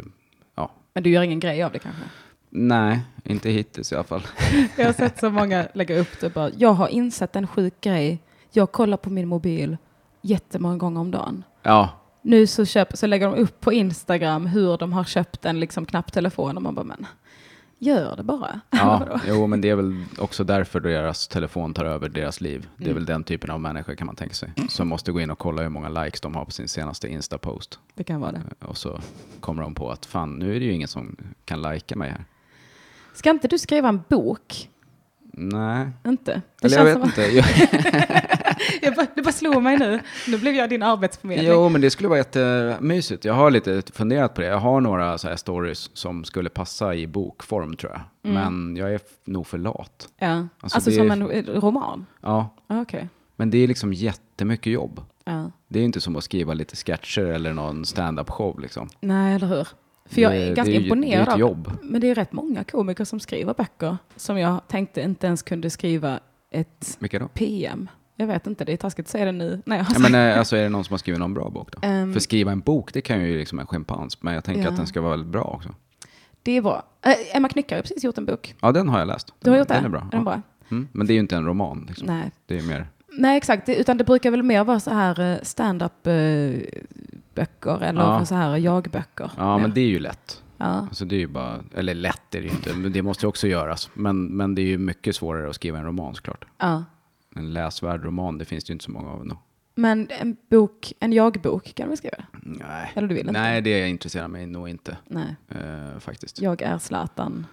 Speaker 4: ja.
Speaker 1: Men du gör ingen grej av det kanske?
Speaker 4: Nej, inte hittills i alla fall.
Speaker 1: *laughs* Jag har sett så många lägga upp det bara. Jag har insett en sjuk grej. Jag kollar på min mobil jättemånga gånger om dagen. *laughs*
Speaker 4: Ja,
Speaker 1: Nu så, köp, så lägger de upp på Instagram hur de har köpt en liksom knapptelefon och man bara men gör det bara.
Speaker 4: ja. jo, men det är väl också därför deras telefon tar över deras liv. Det är
Speaker 1: Mm.
Speaker 4: väl den typen av människor kan man tänka sig. Som måste gå in och kolla hur många likes de har på sin senaste Insta-post.
Speaker 1: *laughs* Det kan vara det.
Speaker 4: Och så kommer de på att fan, nu är det ju ingen som kan lajka mig här.
Speaker 1: Ska inte du skriva en bok?
Speaker 4: Nej,
Speaker 1: Inte? Det
Speaker 4: eller jag
Speaker 1: känns
Speaker 4: vet inte. Jag,
Speaker 1: som- jag bara, det bara slog mig nu. Nu blev jag din arbetsförmedling.
Speaker 4: Jo, men det skulle vara jättemysigt. Jag har lite funderat på det. Jag har några så här stories som skulle passa i bokform tror jag.
Speaker 1: Mm.
Speaker 4: Men jag är f- nog för lat.
Speaker 1: Ja. Alltså,
Speaker 4: Alltså, det
Speaker 1: som
Speaker 4: är-
Speaker 1: en eh, roman? Ah,
Speaker 4: Ja,
Speaker 1: Okej.
Speaker 4: men det är liksom jättemycket jobb.
Speaker 1: Ja.
Speaker 4: Det är ju inte som att skriva lite sketcher eller någon stand-up show liksom.
Speaker 1: Nej, eller hur? För jag
Speaker 4: Det-
Speaker 1: är
Speaker 4: det
Speaker 1: ganska
Speaker 4: är ju-
Speaker 1: imponerad.
Speaker 4: det är ett
Speaker 1: av-
Speaker 4: jobb.
Speaker 1: Men det är rätt många komiker som skriver böcker som jag tänkte inte ens kunde skriva ett
Speaker 4: Vilka då?
Speaker 1: PM. Jag vet inte, det är taskigt att säga det nu. Nej, jag har
Speaker 4: Ja,
Speaker 1: sagt-
Speaker 4: men, eh, alltså, är det någon som har skrivit någon bra bok då?
Speaker 1: Ehm.
Speaker 4: För skriva en bok, det kan ju liksom en schimpans. Men jag tänker
Speaker 1: Ja.
Speaker 4: att den ska vara väldigt bra också.
Speaker 1: Det är bra. Äh, Emma Knyckare har precis gjort en bok.
Speaker 4: Ja, den har jag läst. Den,
Speaker 1: Du har gjort det?
Speaker 4: Mm, Den är bra.
Speaker 1: Är den
Speaker 4: ja.
Speaker 1: bra?
Speaker 4: Mm. Men det är ju inte en roman. Liksom.
Speaker 1: Nej.
Speaker 4: Det är ju mer...
Speaker 1: Nej, exakt. Det- Utan det brukar väl mer vara så här eh, stand-up-böcker eller
Speaker 4: Ja.
Speaker 1: så här eh, jag-böcker.
Speaker 4: Ja, men det är ju lätt.
Speaker 1: Ja.
Speaker 4: Alltså det är ju bara, eller lätt är det ju inte, men det måste ju också göras. Men, men det är ju mycket svårare att skriva en roman såklart.
Speaker 1: Ja.
Speaker 4: En läsvärd roman, det finns det ju inte så många av ändå.
Speaker 1: Men en bok, en jag-bok kan du väl skriva?
Speaker 4: Nej,
Speaker 1: Eller du vill inte?
Speaker 4: Nej det intresserar mig nog inte
Speaker 1: Nej.
Speaker 4: eh, faktiskt.
Speaker 1: Jag är Zlatan.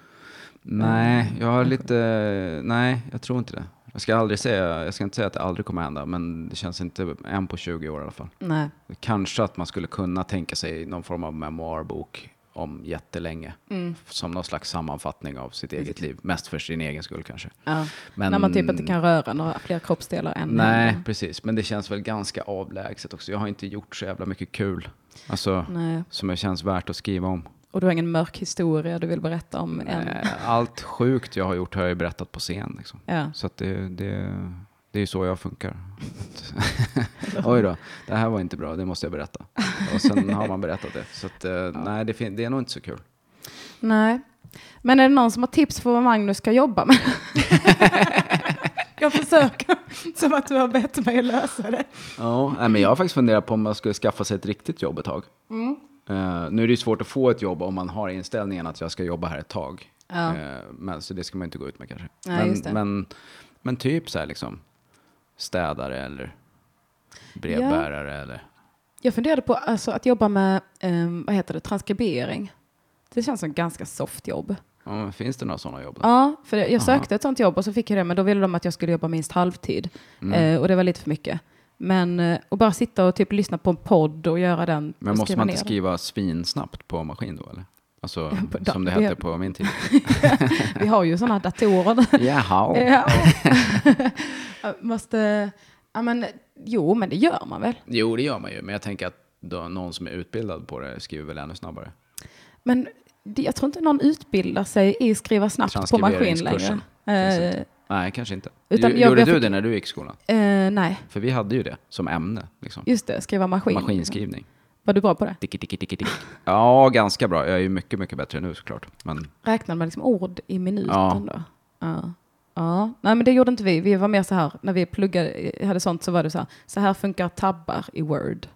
Speaker 4: Nej, jag har lite, nej jag tror inte det. Jag ska aldrig säga, jag ska inte säga att det aldrig kommer hända, men det känns inte en på 20 år i alla fall.
Speaker 1: Nej.
Speaker 4: Kanske att man skulle kunna tänka sig någon form av memoarbok om jättelänge.
Speaker 1: Mm.
Speaker 4: Som någon slags sammanfattning av sitt eget liv. Mest för sin egen skull kanske.
Speaker 1: Ja.
Speaker 4: Men-
Speaker 1: När man typ inte kan röra några fler kroppsdelar än
Speaker 4: Nej,
Speaker 1: händerna.
Speaker 4: precis. Men det känns väl ganska avlägset också. Jag har inte gjort så jävla mycket kul. Alltså,
Speaker 1: Nej.
Speaker 4: som jag känns värt att skriva om.
Speaker 1: Och du har ingen mörk historia du vill berätta om än.
Speaker 4: Eh, Allt sjukt jag har gjort har jag ju berättat på scen. Liksom.
Speaker 1: Ja.
Speaker 4: Så att det, det, det är ju så jag funkar. Oj då, det här var inte bra, det måste jag berätta. Och sen har man berättat det. Så att, eh, nej, det, fin- det är nog inte så kul.
Speaker 1: Nej. Men är det någon som har tips för vad Magnus ska jobba
Speaker 4: *laughs*
Speaker 1: med? jag försöker, som att du har bett mig att lösa det.
Speaker 4: Ja, nej, men jag har faktiskt funderat på om man skulle skaffa sig ett riktigt jobb ett tag. Eh, nu är det ju svårt att få ett jobb om man har inställningen att jag ska jobba här ett tag.
Speaker 1: Ja.
Speaker 4: Eh, men, så det ska man inte gå ut med kanske.
Speaker 1: Nej,
Speaker 4: men,
Speaker 1: just det.
Speaker 4: Men, men typ så här liksom städare eller brevbärare eller...
Speaker 1: Jag funderade på alltså, att jobba med, ehm, vad heter det, transkribering. Det känns som ganska soft jobb.
Speaker 4: Ja, men finns det några sådana jobb? då?
Speaker 1: Ja, för det- jag sökte ett sånt jobb och så fick jag det, men då ville de att jag skulle jobba minst halvtid.
Speaker 4: Mm.
Speaker 1: Eh, och det var lite för mycket. Men eh, och bara sitta och typ lyssna på en podd och göra den.
Speaker 4: men
Speaker 1: och
Speaker 4: måste
Speaker 1: skriva
Speaker 4: man
Speaker 1: ner
Speaker 4: inte
Speaker 1: den.
Speaker 4: skriva svinsnabbt på maskin då eller? Alltså,
Speaker 1: *laughs* På da-
Speaker 4: som det
Speaker 1: ja.
Speaker 4: hette på
Speaker 1: *laughs*
Speaker 4: min tid.
Speaker 1: Vi har ju sådana datorer.
Speaker 4: *laughs* Jaha.
Speaker 1: *laughs* Ja. Måste... Ja, men, jo, men det gör man väl.
Speaker 4: Jo, det gör man ju, men jag tänker att då, någon som är utbildad på det skriver väl ännu snabbare.
Speaker 1: Men det- jag tror inte någon utbildar sig i skriva snabbt på maskin längre.
Speaker 4: Transkriberingskursen. Finns
Speaker 1: Eh,
Speaker 4: inte. Nej, kanske inte.
Speaker 1: Utan
Speaker 4: Ju-
Speaker 1: jag-
Speaker 4: Gjorde
Speaker 1: jag
Speaker 4: du
Speaker 1: fick-
Speaker 4: det när du gick i skolan?
Speaker 1: eh, nej,
Speaker 4: För vi hade ju det som ämne. Liksom.
Speaker 1: just det, skriva maskin.
Speaker 4: Maskinskrivning.
Speaker 1: Var du bra på det?
Speaker 4: Tiki, tiki, tiki, tiki. Ja, ganska bra. Jag är ju mycket, mycket bättre nu såklart. Men
Speaker 1: Räknade man liksom ord i minuten
Speaker 4: Ja.
Speaker 1: då? Ja. ja. Nej, men det gjorde inte vi. Vi var mer så här, när vi pluggade, hade sånt så var det så här, så här funkar tabbar i Word.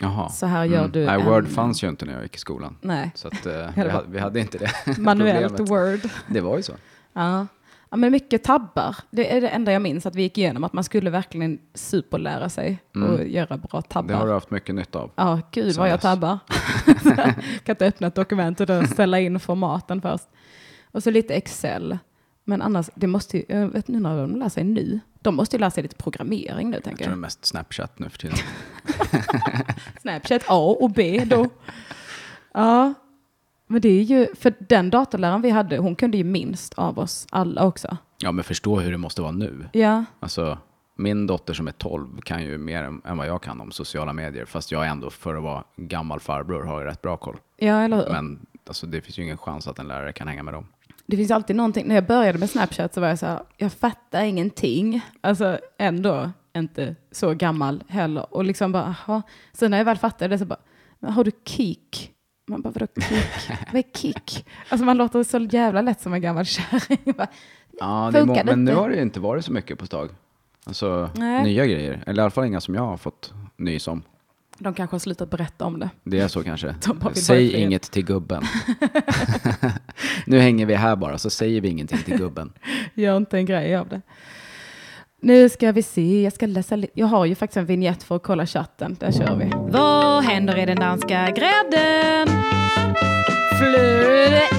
Speaker 4: jaha. Mm.
Speaker 1: Så här gör du
Speaker 4: Nej,
Speaker 1: en-
Speaker 4: Word fanns ju inte när jag gick i skolan. *laughs*
Speaker 1: Nej,
Speaker 4: Så att, eh,
Speaker 1: det
Speaker 4: vi,
Speaker 1: var-
Speaker 4: hade, vi hade inte det *laughs*
Speaker 1: manuellt
Speaker 4: problemet.
Speaker 1: Word.
Speaker 4: Det var ju så.
Speaker 1: Ja. ja, men mycket tabbar. Det är det enda jag minns att vi gick igenom, att man skulle verkligen superlära sig och göra bra
Speaker 4: Mm. Det har
Speaker 1: tabbar.
Speaker 4: du haft mycket nytta av.
Speaker 1: Ja, gud
Speaker 4: Sen
Speaker 1: vad jag
Speaker 4: dess.
Speaker 1: tabbar. *laughs* kan inte öppna ett dokument och då ställa in formaten först. Och så lite Excel. Men annars, det måste ju, jag vet nu när de lär sig nu. De måste ju lära sig lite programmering nu,
Speaker 4: Jag
Speaker 1: tänker
Speaker 4: tror det är
Speaker 1: jag.
Speaker 4: mest Snapchat nu för tiden.
Speaker 1: Snapchat A och B *laughs* då. ja, men det är ju, för den datorläraren vi hade, hon kunde ju minst av oss alla också.
Speaker 4: Ja, men förstå hur det måste vara nu.
Speaker 1: Ja,
Speaker 4: Alltså, min dotter som är 12 kan ju mer än än vad jag kan om sociala medier. Fast jag ändå, för att vara gammal farbror, har ju rätt bra koll.
Speaker 1: ja eller hur?
Speaker 4: Men alltså, det finns ju ingen chans att en lärare kan hänga med dem.
Speaker 1: Det finns alltid någonting. När jag började med Snapchat så var jag så här, jag fattar ingenting. Alltså ändå inte så gammal heller. Och liksom bara, aha. Sen när jag väl fattade det så bara, "Men har du kick? Man bara, vadå kick? *laughs* Vad är kick? Alltså man låter så jävla lätt som en gammal kärring. *laughs* Bara,
Speaker 4: Ja, det är
Speaker 1: Funkar
Speaker 4: må-
Speaker 1: det
Speaker 4: men nu
Speaker 1: inte?
Speaker 4: har det ju inte varit så mycket på ett tag. Alltså,
Speaker 1: Nej.
Speaker 4: nya grejer. Eller i alla fall inga som jag har fått nys om.
Speaker 1: De kanske har slutat berätta om det.
Speaker 4: Det är så kanske.
Speaker 1: *laughs* De bara vill vara i
Speaker 4: Säg
Speaker 1: fred.
Speaker 4: inget till gubben. *laughs* nu hänger vi här bara, så säger vi ingenting till gubben.
Speaker 1: Gör inte en grej av det. Nu ska vi se, jag ska läsa li- Jag har ju faktiskt en vignett för att kolla chatten. Där kör vi. Vad händer i den danska grädden? Flöde. *laughs*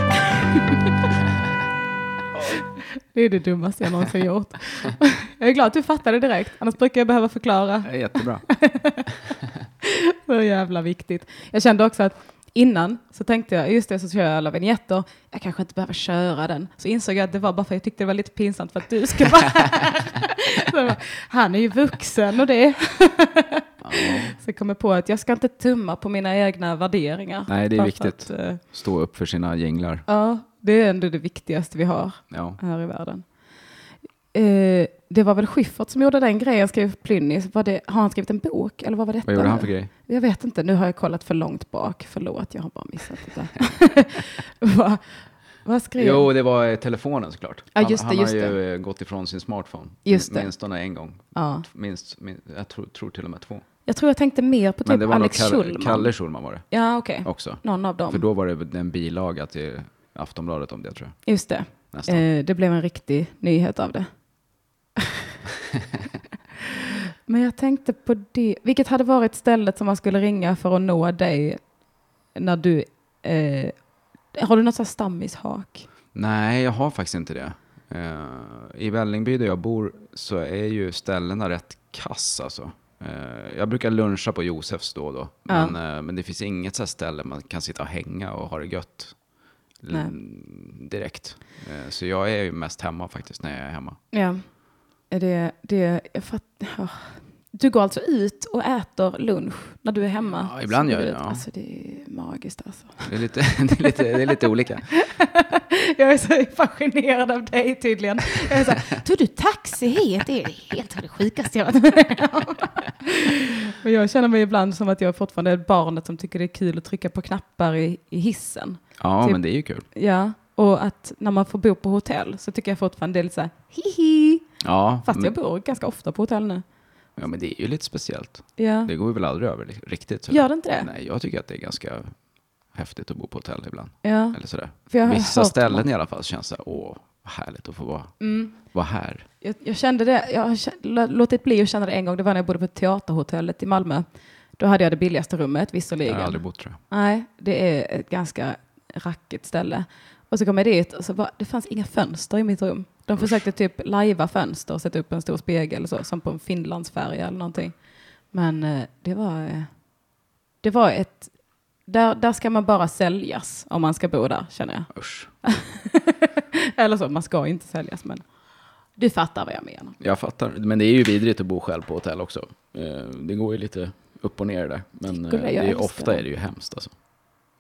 Speaker 1: Det är det dummaste jag någonsin gjort. Jag är glad att du fattade direkt, annars brukar jag behöva förklara
Speaker 4: *laughs* Det är jättebra.
Speaker 1: *laughs* hur jävla viktigt. Jag kände också att innan så tänkte jag, just det, så kör jag alla vignetter. Jag kanske inte behöver köra den. Så insåg jag att det var bara för att jag tyckte det var lite pinsamt för att du skulle vara här. *laughs* Så jag bara, Han är ju vuxen och det. *laughs* Så jag kom jag på att jag ska inte tumma på mina egna värderingar.
Speaker 4: Nej, det är
Speaker 1: Bara för
Speaker 4: viktigt.
Speaker 1: att, eh,
Speaker 4: Stå upp för sina gänglar.
Speaker 1: ja, det är ändå det viktigaste vi har
Speaker 4: Ja.
Speaker 1: här i världen. Eh, det var väl Schyffert som gjorde den grejen, skrev Plynnis. Var det, har han skrivit en bok eller vad var detta?
Speaker 4: Vad gjorde han
Speaker 1: nu?
Speaker 4: för grej?
Speaker 1: Jag vet inte, nu har jag kollat för långt bak. Förlåt, jag har bara missat det där.
Speaker 4: *laughs*
Speaker 1: vad, vad skrev
Speaker 4: Jo, det var eh, telefonen såklart.
Speaker 1: Ja, just det,
Speaker 4: han han
Speaker 1: just
Speaker 4: har ju
Speaker 1: det.
Speaker 4: eh, gått ifrån sin smartphone.
Speaker 1: Just det.
Speaker 4: Åtminstone en gång.
Speaker 1: Ja.
Speaker 4: Minst, min- jag tror, tror till och med två.
Speaker 1: Jag tror jag tänkte mer på
Speaker 4: Men det
Speaker 1: typ
Speaker 4: var nog
Speaker 1: Alex
Speaker 4: Kalle,
Speaker 1: Schulman.
Speaker 4: Kalle Schulman var det
Speaker 1: Ja, okej.
Speaker 4: också.
Speaker 1: Någon av dem.
Speaker 4: För då var det en bilaga till Aftonbladet om det tror jag.
Speaker 1: Just det.
Speaker 4: Nästan.
Speaker 1: Eh, det blev en riktig nyhet av
Speaker 4: *laughs*
Speaker 1: det. Men jag tänkte på det. Vilket hade varit stället som man skulle ringa för att nå dig när du... Eh, har du något sånt här stammishak?
Speaker 4: Nej, jag har faktiskt inte det. Eh, I Vällingby där jag bor så är ju ställena rätt kass alltså. Eh, jag brukar luncha på Josefs då och då.
Speaker 1: Ja.
Speaker 4: Men, eh, men det finns inget så här ställe man kan sitta och hänga och ha det gött. L-
Speaker 1: Nej.
Speaker 4: Direkt. Eh, så jag är ju mest hemma faktiskt när jag är hemma.
Speaker 1: Ja. Är Det, det, jag fatt, ja. Du går alltså ut och äter lunch när du är hemma?
Speaker 4: Ja, ibland
Speaker 1: Så
Speaker 4: gör
Speaker 1: går du
Speaker 4: jag det,
Speaker 1: ut.
Speaker 4: ja.
Speaker 1: Alltså det är magiskt alltså. *laughs*
Speaker 4: Det är lite, *laughs* det är lite, det är lite olika.
Speaker 1: Jag är så fascinerad av dig tydligen. Jag är så här, tog du taxi hit? Det är helt det sjukaste jag varit med om." *laughs* Men jag känner mig ibland som att jag fortfarande är barnet som tycker det är kul att trycka på knappar i, i hissen.
Speaker 4: Ja,
Speaker 1: Typ.
Speaker 4: men det är ju kul.
Speaker 1: Ja, och att när man får bo på hotell så tycker jag fortfarande det är lite så här hihi.
Speaker 4: Ja,
Speaker 1: Fast jag
Speaker 4: men,
Speaker 1: bor ganska ofta på hotell nu.
Speaker 4: ja, men det är ju lite speciellt.
Speaker 1: Ja.
Speaker 4: Det går ju väl aldrig över li- riktigt. sådär.
Speaker 1: Gör det inte det?
Speaker 4: Nej, jag tycker att det är ganska häftigt att bo på hotell ibland.
Speaker 1: Ja.
Speaker 4: Eller sådär.
Speaker 1: För jag har
Speaker 4: Vissa
Speaker 1: hört
Speaker 4: ställen
Speaker 1: om- Mm.
Speaker 4: i alla fall känns så här, åh, vad härligt att få vara, vara här.
Speaker 1: Jag, jag kände det, jag har kä- lå- låtit bli att känna det en gång, det var när jag bodde på Teaterhotellet i Malmö. Då hade jag det billigaste rummet
Speaker 4: Jag
Speaker 1: visserligen.
Speaker 4: har aldrig bott tror jag.
Speaker 1: Nej, det är ett ganska rackigt ställe. Och så kom jag dit och så bara, det fanns inga fönster i mitt rum. De försökte typ lajva fönster och sätta upp en stor spegel så, som på en finlandsfärja eller någonting. Men eh, det var, eh, det var ett Där, där ska man bara säljas om man ska bo där, känner jag.
Speaker 4: Usch.
Speaker 1: Eller så, man ska inte säljas, men du fattar vad jag menar.
Speaker 4: Jag fattar. Men det är ju vidrigt att bo själv på hotell också. Eh, Det går ju lite upp och ner där. Men eh,
Speaker 1: Skulle
Speaker 4: det
Speaker 1: jag
Speaker 4: är ju,
Speaker 1: älska
Speaker 4: ofta
Speaker 1: det.
Speaker 4: är det ju hemskt alltså.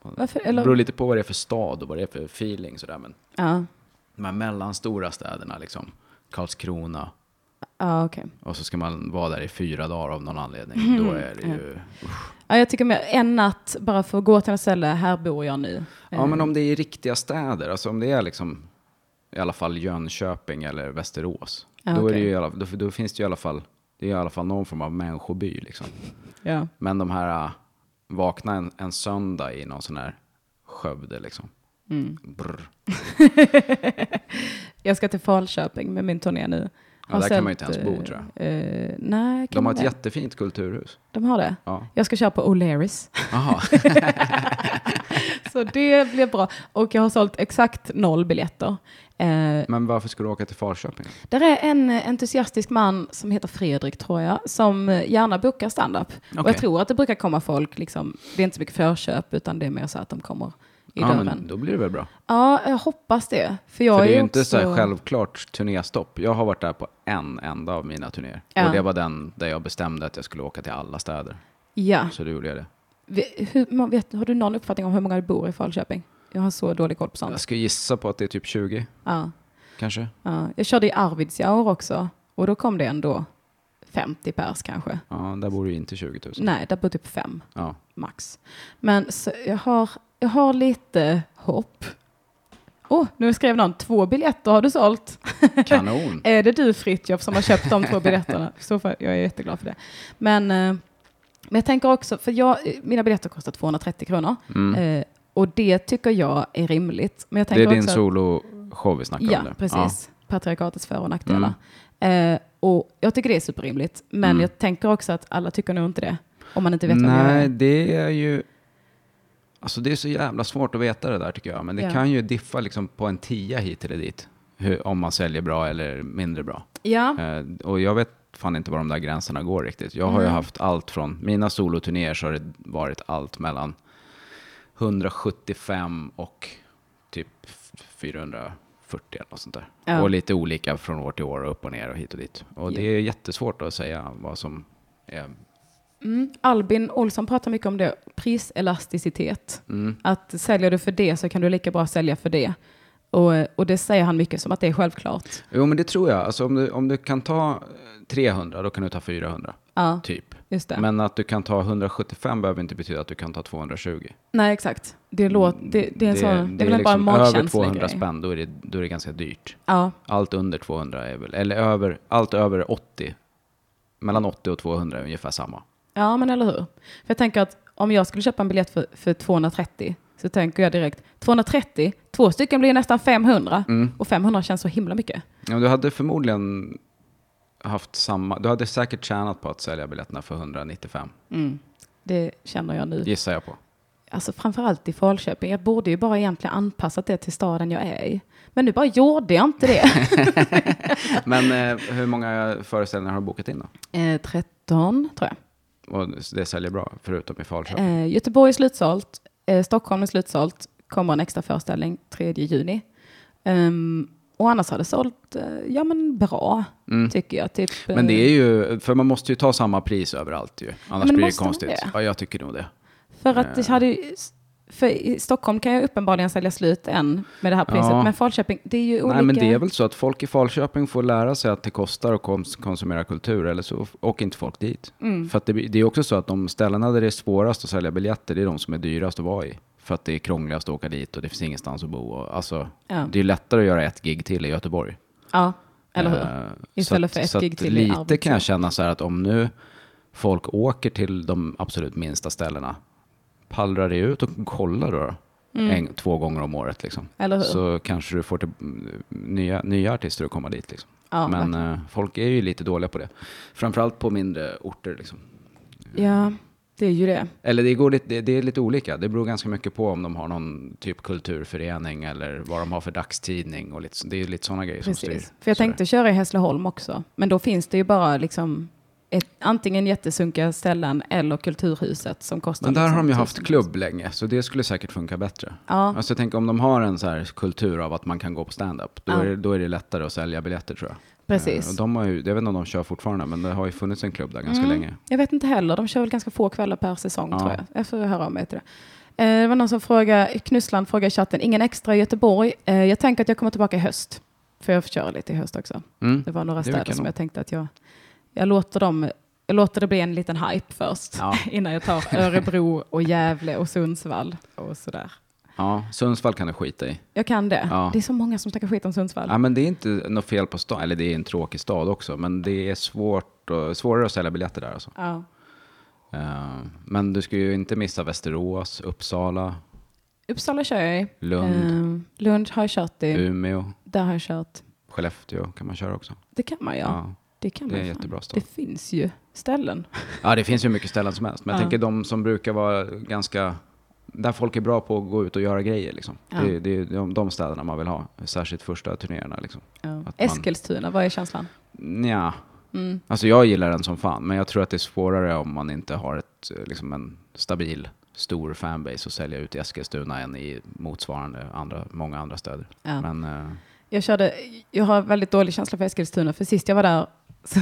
Speaker 1: Varför?
Speaker 4: Det
Speaker 1: Eller?
Speaker 4: beror lite på vad det är för stad och vad det är för feeling sådär. Men
Speaker 1: Ja,
Speaker 4: de här mellanstora städerna liksom. Karlskrona.
Speaker 1: ja okej.
Speaker 4: Och så ska man vara där i fyra dagar av någon anledning. Då är det ju...
Speaker 1: Mhm. Ja, jag tycker mer en natt bara för att gå till något ställe, här bor jag nu.
Speaker 4: Ja,
Speaker 1: Eh.
Speaker 4: men om det är i riktiga städer, alltså om det är liksom i alla fall Jönköping eller Västerås,
Speaker 1: Ja,
Speaker 4: då, är det
Speaker 1: Ah, okej.
Speaker 4: ju i alla, då, då finns det ju i alla fall, det är i alla fall någon form av människoby liksom.
Speaker 1: Ja.
Speaker 4: Men de här, äh, vakna en, en söndag i någon sån här Skövde liksom.
Speaker 1: Mm.
Speaker 4: Brr.
Speaker 1: Jag ska till Falköping med min turné nu.
Speaker 4: Ja, där kan man ju inte ens bo, tror
Speaker 1: jag. Eh, nej, kan
Speaker 4: De har
Speaker 1: man
Speaker 4: ett
Speaker 1: det?
Speaker 4: jättefint kulturhus.
Speaker 1: De har det? *laughs*
Speaker 4: Ja.
Speaker 1: Jag ska köra på O'Learys. *laughs*
Speaker 4: Aha.
Speaker 1: Så det blir bra. Och jag har sålt exakt noll biljetter. Eh,
Speaker 4: Men varför ska du åka till Falköping?
Speaker 1: där är en eh, entusiastisk man som heter Fredrik, tror jag, som eh, gärna bokar standup. Och
Speaker 4: Okej.
Speaker 1: jag tror att det brukar komma folk, liksom, det är inte så mycket förköp, utan det är mer så att de kommer i
Speaker 4: Ja, men
Speaker 1: dörren.
Speaker 4: då blir det väl bra.
Speaker 1: Ja, jag hoppas det. För jag
Speaker 4: För det är
Speaker 1: är
Speaker 4: ju inte
Speaker 1: också...
Speaker 4: så här självklart turnéstopp. Jag har varit där på en enda av mina turnéer.
Speaker 1: Ja.
Speaker 4: Och det var den där jag bestämde att jag skulle åka till alla städer.
Speaker 1: Ja.
Speaker 4: Så då gjorde jag det.
Speaker 1: Vi- Hur, man vet, har du någon uppfattning om hur många det bor i Falköping? Jag har så dålig koll på sånt.
Speaker 4: Jag ska gissa på att det är typ 20,
Speaker 1: Ja,
Speaker 4: kanske.
Speaker 1: ja. Jag körde i Arvidsjaur också och då kom det ändå 50 pers kanske.
Speaker 4: Ja, där bor det ju inte 20 000.
Speaker 1: Nej, där bor typ fem
Speaker 4: Ja.
Speaker 1: max. Men så jag, har, jag har lite hopp. Åh, oh, nu skrev någon två biljetter har du sålt. *laughs*
Speaker 4: Kanon.
Speaker 1: Är det du Fritjof som har köpt de två
Speaker 4: *laughs*
Speaker 1: biljetterna? I Så fall, jag är jätteglad för det. Men, eh, men jag tänker också, för jag, mina biljetter kostar 230 kronor. Eh, och det tycker jag är rimligt. Men jag
Speaker 4: Mm. Det
Speaker 1: tänker
Speaker 4: är din
Speaker 1: också,
Speaker 4: soloshow vi snackar
Speaker 1: Ja,
Speaker 4: om Mm. nu.
Speaker 1: precis. Patriarkatets för och nackdelar. Eh, och jag tycker det är superrimligt. Men
Speaker 4: Mm.
Speaker 1: jag tänker också att alla tycker nog inte det. Om man inte vet vem jag
Speaker 4: Nej,
Speaker 1: är.
Speaker 4: det är ju... Alltså det är så jävla svårt att veta det där tycker jag. Men det
Speaker 1: Ja.
Speaker 4: kan ju diffa liksom på en tia hit eller dit. Hur, om man säljer bra eller mindre bra.
Speaker 1: Ja,
Speaker 4: Eh, och jag vet fan inte var de där gränserna går riktigt. Jag har ju haft allt från, mina soloturnéer så har det varit allt mellan 175 och typ 440 eller något sånt där.
Speaker 1: Ja.
Speaker 4: Och lite olika från år till år och upp och ner och hit och dit. Och det är jättesvårt att säga vad som är...
Speaker 1: mm. Albin Olsson pratar mycket om det. Priselasticitet.
Speaker 4: Mm.
Speaker 1: Att säljer du för det så kan du lika bra sälja för det. Och, och det säger han mycket som att det är självklart.
Speaker 4: Jo men det tror jag, alltså om du, om du kan ta eh, 300 då kan du ta 400.
Speaker 1: Ja,
Speaker 4: Typ.
Speaker 1: just det.
Speaker 4: Men att du kan ta 175 behöver inte betyda att du kan ta 220.
Speaker 1: Nej, exakt.
Speaker 4: Mm,
Speaker 1: Det, låt, det, det är en sån, det är väl bara en
Speaker 4: liksom över
Speaker 1: magkänslig
Speaker 4: 200
Speaker 1: grej.
Speaker 4: spänn, då är, det, då är det ganska dyrt.
Speaker 1: Ja,
Speaker 4: Allt under 200 är väl, eller över, allt över 80, mellan 80 och 200 är ungefär samma.
Speaker 1: Ja, men eller hur. För jag tänker att om jag skulle köpa en biljett för, för 230 så tänker jag direkt 230, två stycken blir ju nästan 500
Speaker 4: Mm.
Speaker 1: och 500 känns så himla mycket.
Speaker 4: Ja, men du hade förmodligen haft samma, du hade säkert tjänat på att sälja biljetterna för 195,
Speaker 1: Det känner jag nu.
Speaker 4: gissar jag på.
Speaker 1: Alltså framförallt i Falköping. Jag borde ju bara egentligen anpassat det till staden jag är i. Men nu bara gjorde jag inte
Speaker 4: *laughs*
Speaker 1: det.
Speaker 4: Men eh, hur många föreställningar har du bokat in då?
Speaker 1: eh, 13 tror jag.
Speaker 4: Och det säljer bra, förutom i Falköping.
Speaker 1: Eh, Göteborg är slutsålt. Eh, Stockholm är slutsålt. Kommer en extra föreställning 3 juni. Ehm, och annars har det sålt, eh, ja men bra, tycker jag. Typ,
Speaker 4: Mm. Men det
Speaker 1: eh,
Speaker 4: är ju, för man måste ju ta samma pris överallt ju, annars
Speaker 1: Men
Speaker 4: blir det
Speaker 1: måste man
Speaker 4: konstigt.
Speaker 1: det?
Speaker 4: Ja, jag tycker nog det.
Speaker 1: För att det hade ju, för i Stockholm kan jag uppenbarligen sälja slut än med det här priset,
Speaker 4: Ja.
Speaker 1: men Falköping, det är ju olika.
Speaker 4: Nej, men det är väl så att folk i Falköping får lära sig att det kostar att kons- konsumera kultur, eller så åker inte folk dit.
Speaker 1: Mm.
Speaker 4: För att det, det är också så att de ställena där det är svårast att sälja biljetter, det är de som är dyrast att vara i. För att det är krångligast att åka dit och det finns ingenstans att bo. Och, alltså,
Speaker 1: Ja.
Speaker 4: Det är lättare att göra ett gig till i Göteborg.
Speaker 1: Ja, eller hur?
Speaker 4: Eh,
Speaker 1: Istället
Speaker 4: så
Speaker 1: för
Speaker 4: att,
Speaker 1: ett
Speaker 4: så att
Speaker 1: gig till i
Speaker 4: Lite
Speaker 1: Arvidsjaur.
Speaker 4: kan jag känna så här att om nu folk åker till de absolut minsta ställena, pallrar det ut och kollar då. En, två gånger om året liksom.
Speaker 1: Mm. Eller hur?
Speaker 4: Så kanske du får till, mm, nya, nya artister att komma dit liksom.
Speaker 1: Ja,
Speaker 4: Men
Speaker 1: verkligen.
Speaker 4: eh, folk är ju lite dåliga på det. Framförallt på mindre orter liksom.
Speaker 1: Ja, det är ju det.
Speaker 4: Eller det, går lite, det, det är lite olika. Det beror ganska mycket på om de har någon typ kulturförening eller vad de har för dagstidning. Och lite, så- det är ju lite sådana grejer som styr.
Speaker 1: Precis. För jag
Speaker 4: Så där.
Speaker 1: tänkte köra i Hässleholm också, men då finns det ju bara liksom ett, antingen jättesunkiga ställen eller Kulturhuset som kostar.
Speaker 4: Men där
Speaker 1: liksom
Speaker 4: har de ju
Speaker 1: tusen-
Speaker 4: haft klubb länge, så det skulle säkert funka bättre.
Speaker 1: Ja.
Speaker 4: Alltså tänk om de har en så här kultur av att man kan gå på stand-up, då,
Speaker 1: Ja.
Speaker 4: är, det- då är det lättare att sälja biljetter tror jag.
Speaker 1: Precis.
Speaker 4: Eh, och de har ju, jag vet inte om de kör fortfarande, men det har ju funnits en klubb där ganska länge.
Speaker 1: Mm. Jag vet inte heller. De kör väl ganska få kvällar per säsong
Speaker 4: Ja.
Speaker 1: tror jag. Jag får höra av mig till det. Eh, Det var någon som frågade, Knussland frågade i chatten, ingen extra i Göteborg. Eh, Jag tänker att jag kommer tillbaka i höst. För jag köra lite i höst också.
Speaker 4: Mm.
Speaker 1: Det var några
Speaker 4: Det är
Speaker 1: städer
Speaker 4: kanon.
Speaker 1: som jag tänkte att jag, jag låter dem jag låter det bli en liten hype först
Speaker 4: Ja.
Speaker 1: *laughs* innan jag tar Örebro och Gävle och Sundsvall och sådär.
Speaker 4: Ja, Sundsvall kan du skita i.
Speaker 1: Jag kan det.
Speaker 4: Ja.
Speaker 1: Det är så många som snackar skit om Sundsvall.
Speaker 4: Ja, men det är inte något fel på stan, eller det är en tråkig stad också, men det är svårt och, svårare att sälja biljetter där alltså.
Speaker 1: Ja.
Speaker 4: Eh, Men du ska ju inte missa Västerås, Uppsala,
Speaker 1: Uppsala kör jag i.
Speaker 4: Lund,
Speaker 1: Eh, Lund har jag kört i.
Speaker 4: Umeå,
Speaker 1: Där har jag kört.
Speaker 4: Skellefteå kan man köra också.
Speaker 1: Det kan man ja.
Speaker 4: Ja.
Speaker 1: Det kan
Speaker 4: Det
Speaker 1: man
Speaker 4: är
Speaker 1: fan.
Speaker 4: jättebra stad.
Speaker 1: Det finns ju ställen.
Speaker 4: Ja, det finns ju mycket ställen som helst. Men jag
Speaker 1: Ja.
Speaker 4: tänker de som brukar vara ganska... Där folk är bra på att gå ut och göra grejer. Liksom.
Speaker 1: Ja.
Speaker 4: Det, det är de, de städerna man vill ha. Särskilt första turnéerna. Liksom.
Speaker 1: Ja.
Speaker 4: man-
Speaker 1: Eskilstuna, vad är känslan?
Speaker 4: Nja.
Speaker 1: Mm.
Speaker 4: Alltså jag gillar den som fan, men jag tror att det är svårare om man inte har ett, eh, liksom en stabil, stor fanbase att sälja ut i Eskilstuna än i motsvarande andra, många andra städer.
Speaker 1: Ja.
Speaker 4: Men eh,
Speaker 1: Jag, körde, jag har väldigt dålig känsla för Eskilstuna, för sist jag var där så,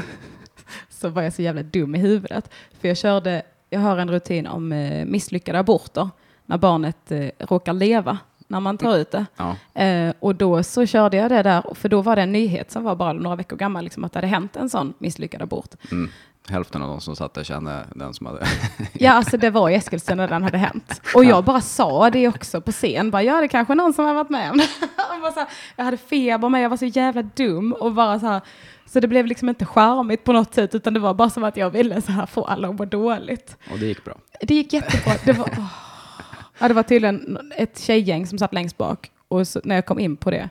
Speaker 1: *laughs* så var jag så jävla dum i huvudet. För jag körde, jag har en rutin om eh, misslyckade aborter, när barnet eh, råkar leva, när man tar ut det.
Speaker 4: ja.
Speaker 1: Eh, och då så körde jag det där, för då var det en nyhet som var bara några veckor gammal, liksom, att det hade hänt en sån misslyckad abort.
Speaker 4: Mm. Hälften av de som satt där kände den som
Speaker 1: *laughs*
Speaker 4: hade... *laughs*
Speaker 1: Ja, alltså det var i Eskilstuna den hade hänt. Och jag bara sa det också på scen. Bara, ja, det kanske är någon som har varit med om det. *laughs* Och bara så här, jag hade feber med, jag var så jävla dum. Och bara så, här, så det blev liksom inte charmigt på något sätt, utan det var bara som att jag ville så här, få alla att må dåligt.
Speaker 4: och
Speaker 1: *laughs*
Speaker 4: det gick bra.
Speaker 1: Det gick jättebra. Det
Speaker 4: *laughs*
Speaker 1: var, åh. ja, det var tydligen ett tjejgäng som satt längst bak. Och så, när jag kom in på det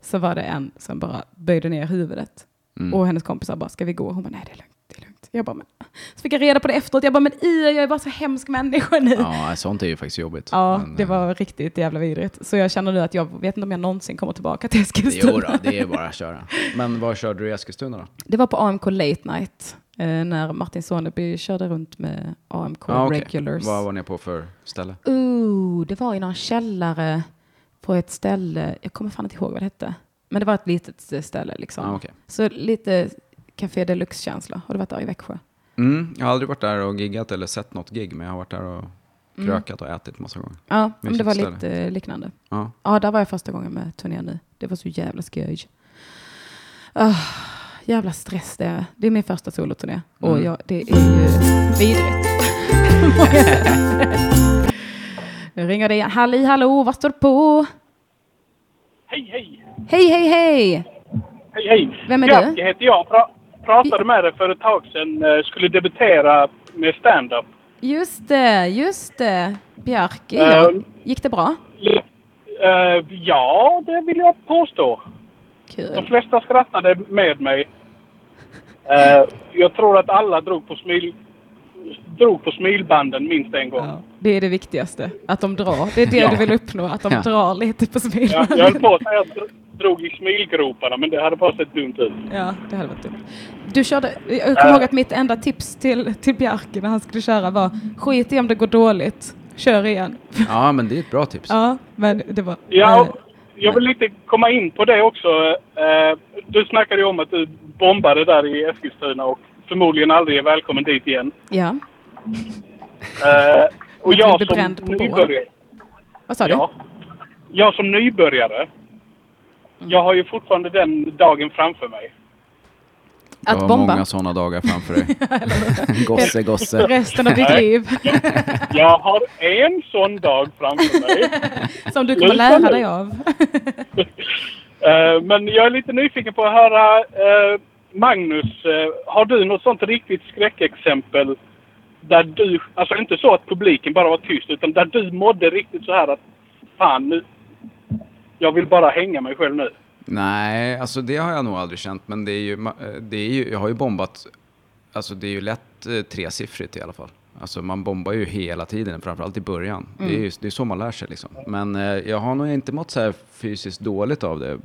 Speaker 1: så var det en som bara böjde ner huvudet.
Speaker 4: Mm.
Speaker 1: Och hennes kompisar bara, ska vi gå? Hon bara, nej det är lugnt. Det är lugnt. Jag bara, men. Så fick jag reda på det efteråt. Jag bara, men Ia, jag är bara så hemsk människa nu. Ja,
Speaker 4: Ja, sånt är ju faktiskt jobbigt. Men,
Speaker 1: det
Speaker 4: eh,
Speaker 1: var riktigt jävla vidrigt. Så jag känner nu att jag vet inte om jag någonsin kommer tillbaka till Eskilstuna.
Speaker 4: Jo då, det är bara att köra. Men var körde du i Eskilstuna då?
Speaker 1: Det var på AMK Late Night. eh, När Martin Soneby körde runt med AMK
Speaker 4: Ja, Ah, okej.
Speaker 1: Regulars.
Speaker 4: Vad var ni på för ställe?
Speaker 1: Ooh, det var i någon källare på ett ställe. Jag kommer fan inte ihåg vad det hette. Men det var ett litet ställe liksom.
Speaker 4: Ah, okej.
Speaker 1: Så lite Café Deluxe-känsla. Har du varit där i Växjö?
Speaker 4: Mm, jag har aldrig varit där och giggat eller sett något gig, men jag har varit där och krökat och ätit massa gånger.
Speaker 1: Mm. Ja, men det
Speaker 4: Mysigt
Speaker 1: var
Speaker 4: ställe.
Speaker 1: lite eh, liknande.
Speaker 4: Ja.
Speaker 1: Ja, där var jag första gången med turnén nu. Det var så jävla skoj. Ah, jävla stress det är. Det är min första soloturné. Och
Speaker 4: Mm.
Speaker 1: jag, det är ju vidrigt. *laughs* nu ringer det igen. Halli hallå, vad står det på?
Speaker 2: Hej, hej!
Speaker 1: Hej, hej, hej!
Speaker 2: Hej, hej!
Speaker 1: Vem är
Speaker 2: Bjarke
Speaker 1: du?
Speaker 2: heter jag. Pra- pratade med dig för ett tag sedan. eh, Skulle debutera med stand-up.
Speaker 1: Just det, just det. Björk,
Speaker 2: Eh,
Speaker 1: ja. Gick det bra?
Speaker 2: L- eh, ja, det vill jag påstå. De
Speaker 1: Kul.
Speaker 2: flesta skrattade med mig. Eh, jag tror att alla drog på, smil- drog på smilbanden minst en gång.
Speaker 1: Det är det viktigaste, att de drar. Det är det du vill uppnå, att de
Speaker 4: Ja.
Speaker 1: drar lite på
Speaker 2: Jag,
Speaker 1: smilen.
Speaker 2: jag höll på att säga att jag dr- drog i smilgroparna, men det hade bara sett dumt ut.
Speaker 1: Ja, det hade varit dumt. Du körde, jag
Speaker 2: Äh.
Speaker 1: kommer ihåg att mitt enda tips till, till Bjarke när han skulle köra var skit i om det går dåligt, kör igen.
Speaker 4: ja, men det är ett bra tips.
Speaker 1: Ja, men det var...
Speaker 2: Ja,
Speaker 1: eh,
Speaker 2: och jag vill lite komma in på det också. Eh, Du snackade ju om att du bombade där i Eskilstuna och förmodligen aldrig är välkommen dit igen.
Speaker 1: ja.
Speaker 2: Eh, Och
Speaker 1: Jag
Speaker 2: jag
Speaker 1: blev
Speaker 2: som
Speaker 1: bränd på bål.
Speaker 2: nybörjare...
Speaker 1: Vad sa
Speaker 2: Ja, jag som nybörjare, jag har ju fortfarande den dagen framför mig.
Speaker 1: du? Att
Speaker 4: du har
Speaker 1: bomba?
Speaker 4: många sådana dagar framför dig.
Speaker 1: *laughs*
Speaker 4: gosse, gosse.
Speaker 1: Resten av ditt liv
Speaker 2: Jag har en sån dag framför mig.
Speaker 1: som du kommer lära dig av.
Speaker 2: Eh, Men jag är lite nyfiken på att höra eh, Magnus, eh, har du något sånt riktigt skräckexempel där du, alltså inte så att publiken bara var tyst, utan där du mådde riktigt så här att fan nu, jag vill bara hänga mig själv nu.
Speaker 4: Nej, alltså det har jag nog aldrig känt, men det är ju, ma- eh, det är ju jag har ju bombat, alltså det är ju lätt eh, tresiffrigt i alla fall. Alltså man bombar ju hela tiden, framförallt i början. Det är ju det är så man lär sig liksom. Men eh, jag har nog inte mått så här fysiskt dåligt av det mm,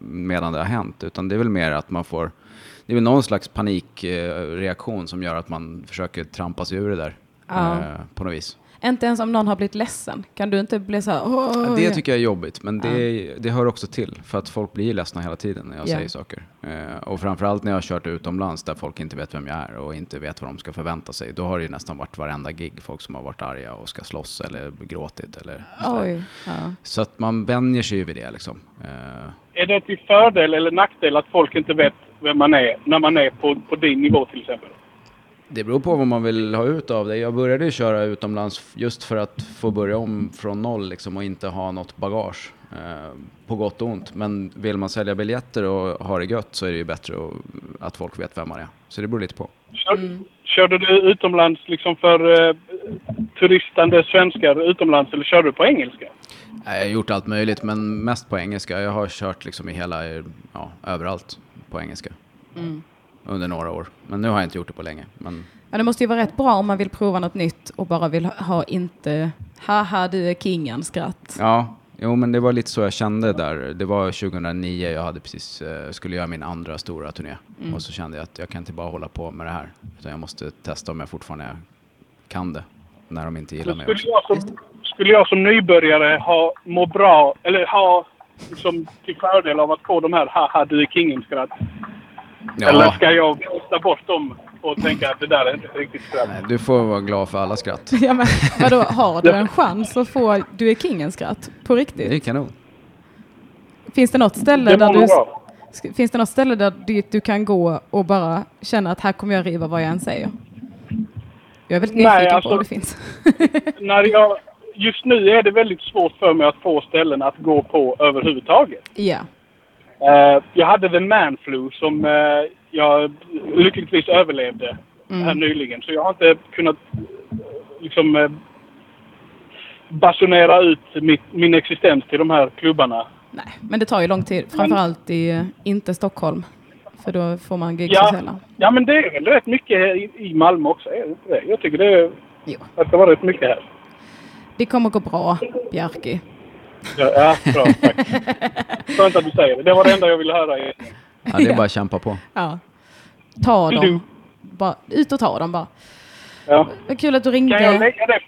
Speaker 4: medan det har hänt, utan det är väl mer att man får, det är väl någon slags panikreaktion som gör att man försöker trampa sig ur det där
Speaker 1: Ja.
Speaker 4: eh, på något vis.
Speaker 1: Inte ens om någon har blivit ledsen. Kan du inte bli så här... "Åh,
Speaker 4: Det
Speaker 1: ja."
Speaker 4: tycker jag är jobbigt, men det, det hör också till för att folk blir ledsna hela tiden när jag
Speaker 1: Ja.
Speaker 4: säger saker. Eh, och framförallt när jag har kört utomlands där folk inte vet vem jag är och inte vet vad de ska förvänta sig. Då har det ju nästan varit varenda gig folk som har varit arga och ska slåss eller gråtit. Eller sådär.
Speaker 1: Oj. Ja.
Speaker 4: Så att man vänjer sig ju vid det liksom. Eh,
Speaker 2: Är det till fördel eller nackdel att folk inte vet vem man är när man är på, på din nivå till exempel?
Speaker 4: Det beror på vad man vill ha ut av det. Jag började ju köra utomlands f- just för att få börja om från noll liksom och inte ha något bagage. Eh, på gott och ont. Men vill man sälja biljetter och ha det gött så är det ju bättre att, att folk vet vem man är. Så det beror lite på.
Speaker 2: Kör, Körde du utomlands liksom för eh, turistande svenskar utomlands eller körde du på engelska?
Speaker 4: Jag har gjort allt möjligt men mest på engelska. Jag har kört liksom i hela, eh, ja, överallt på engelska. Under några år. Men nu har jag inte gjort det på länge. Men
Speaker 1: Ja, det måste ju vara rätt bra om man vill prova något nytt och bara vill ha- ha inte haha du är kingen skratt. *laughs*
Speaker 4: Ja, jo men det var lite så jag kände där. Det var 2009 jag hade precis, eh, skulle göra min andra stora turné.
Speaker 2: Mm.
Speaker 4: Och så kände jag att jag kan inte bara hålla på med det här. Utan jag måste testa om jag fortfarande kan det. När de inte gillar
Speaker 2: Men
Speaker 4: mig
Speaker 2: Skulle
Speaker 4: också.
Speaker 2: jag, som, skulle jag som nybörjare ha må bra, eller ha liksom, till fördel av att få de här haha du är kingen-skratt? Eller
Speaker 4: Ja,
Speaker 2: ska jag kasta bort dem och tänka att det där är inte riktigt skratt?
Speaker 4: nej, du får vara glad för alla skratt.
Speaker 1: Ja, men, vadå, har du en chans att få du är kingen skratt? På
Speaker 4: Det är
Speaker 1: riktigt?
Speaker 4: kanon.
Speaker 1: Finns det något ställe
Speaker 2: Det
Speaker 1: där
Speaker 2: mår
Speaker 1: du,
Speaker 2: nog bra.
Speaker 1: sk- finns det något ställe där du, du kan gå och bara känna att här kommer jag riva vad jag än säger? Jag är väldigt
Speaker 2: Nej,
Speaker 1: nyfiken på
Speaker 2: alltså-
Speaker 1: om det finns. *laughs*
Speaker 2: När jag, just nu är det väldigt svårt för mig att få ställen att gå på överhuvudtaget.
Speaker 1: ja.
Speaker 2: Eh, jag hade The Man Flu som eh, jag lyckligtvis överlevde här
Speaker 1: Mm.
Speaker 2: nyligen. Så jag har inte kunnat eh, liksom eh, basunera ut mitt, min existens till de här klubbarna.
Speaker 1: Nej, men det tar ju lång tid. Framförallt i eh, inte Stockholm. För då får man gig så
Speaker 2: Ja,
Speaker 1: sällan.
Speaker 2: ja, men det är väl rätt mycket i, i Malmö också. Är det inte det? Jag tycker det är-
Speaker 1: Jo.
Speaker 2: verkar vara rätt mycket här.
Speaker 1: Det kommer gå bra, Bjarki.
Speaker 2: Ja, ja bra.
Speaker 1: *laughs*
Speaker 2: Tack. Skönt att du säger det. Det var det enda jag ville höra. egentligen.
Speaker 4: Ja, det är bara att kämpa på. *laughs*
Speaker 1: Ja. Ta
Speaker 2: Du.
Speaker 1: dem. Bara, ut och ta dem bara.
Speaker 2: Ja.
Speaker 1: Vad kul att du
Speaker 2: Kan jag
Speaker 1: ringde.
Speaker 2: lägga det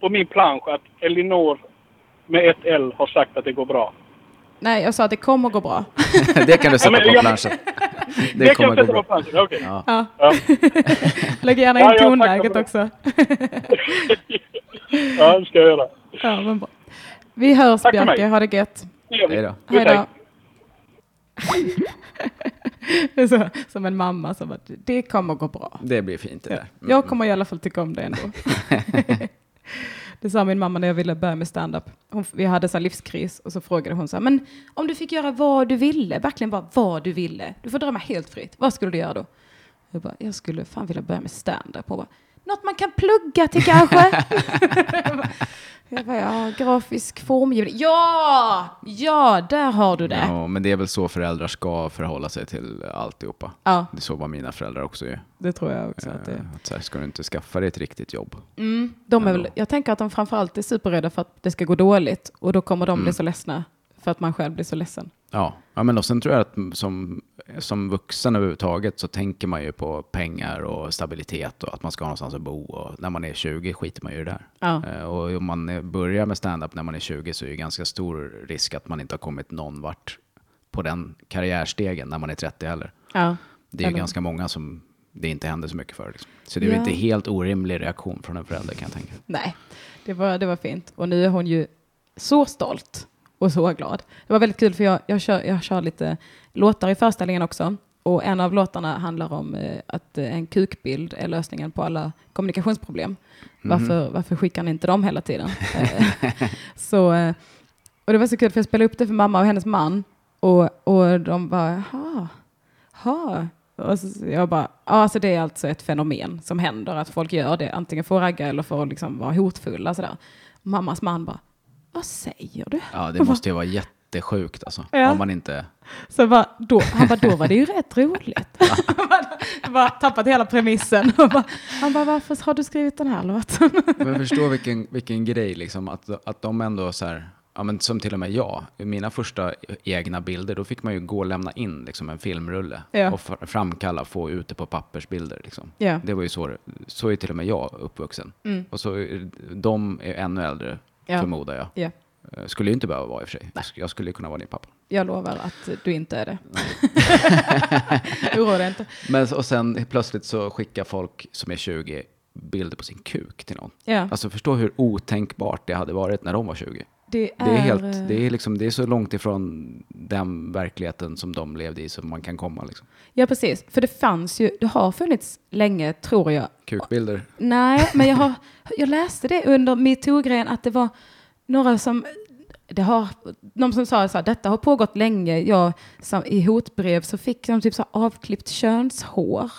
Speaker 2: på min plansch att Elinor med ett L har sagt att det går bra?
Speaker 1: Nej, jag sa att det kommer gå
Speaker 2: *laughs*
Speaker 1: bra.
Speaker 4: Det kan du sätta
Speaker 2: Ja, men
Speaker 4: på
Speaker 2: jag- *laughs*
Speaker 4: planschen. Det
Speaker 2: Det kan
Speaker 4: kommer
Speaker 2: jag
Speaker 4: gå
Speaker 2: sätta på
Speaker 4: bra.
Speaker 2: planschen. Okej.
Speaker 4: Ja.
Speaker 1: Ja.
Speaker 2: Ja.
Speaker 1: *laughs* Lägg gärna
Speaker 2: Ja,
Speaker 1: in
Speaker 2: jag tackar
Speaker 1: tonläget
Speaker 2: för det.
Speaker 1: också.
Speaker 2: ja, det ska jag göra.
Speaker 1: ja, men bra. Vi hörs,
Speaker 2: Tack för
Speaker 1: Bjarki.
Speaker 2: mig.
Speaker 1: Ha det gött.
Speaker 4: Hej då.
Speaker 1: Hej då. *laughs* Det är så, som en mamma som bara, det kommer gå bra.
Speaker 4: Det blir fint det där. Mm.
Speaker 1: Jag kommer i alla fall tycka om det
Speaker 4: *laughs*
Speaker 1: ändå. det sa min mamma när jag ville börja med stand-up. Hon, vi hade så här livskris och så frågade hon så här, men om du fick göra vad du ville, verkligen bara vad du ville, du får drömma helt fritt, vad skulle du göra då? Jag bara, jag skulle fan vilja börja med stand-up. Hon bara, något man kan plugga till
Speaker 4: *laughs*
Speaker 1: kanske? jag bara, ja, grafisk formgivning. Ja, ja, där har du det.
Speaker 4: Ja, men det är väl så föräldrar ska förhålla sig till alltihopa.
Speaker 1: Ja.
Speaker 4: Det är så var mina föräldrar också är.
Speaker 1: Det tror jag också att det är.
Speaker 4: Eh, Att så här, ska du inte skaffa dig ett riktigt jobb?
Speaker 1: Mm. De är väl, jag tänker att de framförallt är superrädda för att det ska gå dåligt och då kommer de bli så ledsna för att man själv blir så ledsen.
Speaker 4: Ja, ja men och sen tror jag att som, som vuxen överhuvudtaget så tänker man ju på pengar och stabilitet och att man ska ha någonstans att bo. Och när man är 20 skiter man ju i det där.
Speaker 1: Ja.
Speaker 4: Eh, Och om man eh, börjar med stand-up när man är 20 så är det ganska stor risk att man inte har kommit någon vart på den karriärstegen när man är 30 heller.
Speaker 1: Ja.
Speaker 4: Det är ju
Speaker 1: Eller-
Speaker 4: ganska många som det inte händer så mycket för. Liksom. Så det är ju
Speaker 1: Ja.
Speaker 4: inte helt orimlig reaktion från en förälder kan
Speaker 1: *laughs*
Speaker 4: jag tänka.
Speaker 1: Nej, det var, det var fint. Och nu är hon ju så stolt och så glad. Det var väldigt kul för jag, jag, kör, jag kör lite låtar i föreställningen också. Och en av låtarna handlar om eh, att eh, en kukbild är lösningen på alla kommunikationsproblem. Varför, varför skickar ni inte dem hela tiden? Eh, *laughs* så, eh, och det var så kul för jag spelade upp det för mamma och hennes man. Och, och de bara, jaha, ha. Och så, jag bara, ja, alltså det är alltså ett fenomen som händer, att folk gör det, antingen för att ragga eller för att liksom vara hotfulla. Sådär. Mammas man bara, vad säger du?
Speaker 4: Ja, det måste ju vara jättesjukt alltså.
Speaker 1: Ja.
Speaker 4: Om man inte...
Speaker 1: Så jag bara, då, han bara, då var det ju rätt
Speaker 4: *laughs*
Speaker 1: roligt. Han bara, jag bara tappat hela premissen. Han bara, han bara, varför har du skrivit den här låten?
Speaker 4: Men jag förstår vilken, vilken grej, liksom, att, att de ändå så här, ja, men som till och med jag, i mina första egna bilder, då fick man ju gå och lämna in liksom, en filmrulle
Speaker 1: Ja.
Speaker 4: och fa- framkalla, få ut det på pappersbilder. Liksom.
Speaker 1: Ja.
Speaker 4: Det var ju så, det- så är till och med jag uppvuxen. Och så är- de är ännu äldre,
Speaker 1: Mm. Ja.
Speaker 4: förmodar jag.
Speaker 1: Ja,
Speaker 4: Eh, Skulle ju inte behöva vara i och för sig. Jag sk- Jag skulle ju kunna vara din pappa.
Speaker 1: jag lovar att du inte är det. *laughs* Oroa dig inte.
Speaker 4: Men, s- och sen plötsligt så skickar folk som är 20 bilder på sin kuk till någon.
Speaker 1: Ja.
Speaker 4: Alltså förstå hur otänkbart det hade varit när de var 20.
Speaker 1: Det är,
Speaker 4: Det är,
Speaker 1: eh,
Speaker 4: helt, det är, liksom, det är så långt ifrån den verkligheten som de levde i som man kan komma. Liksom.
Speaker 1: Ja, precis. För det fanns ju, det har funnits länge, tror jag.
Speaker 4: Kukbilder.
Speaker 1: Nej, men jag, har, jag läste det under metoo-grejen att det var några som, det har, de som sa så här, detta har pågått länge. Jag, som, I hotbrev så fick de typ så här avklippt könshår.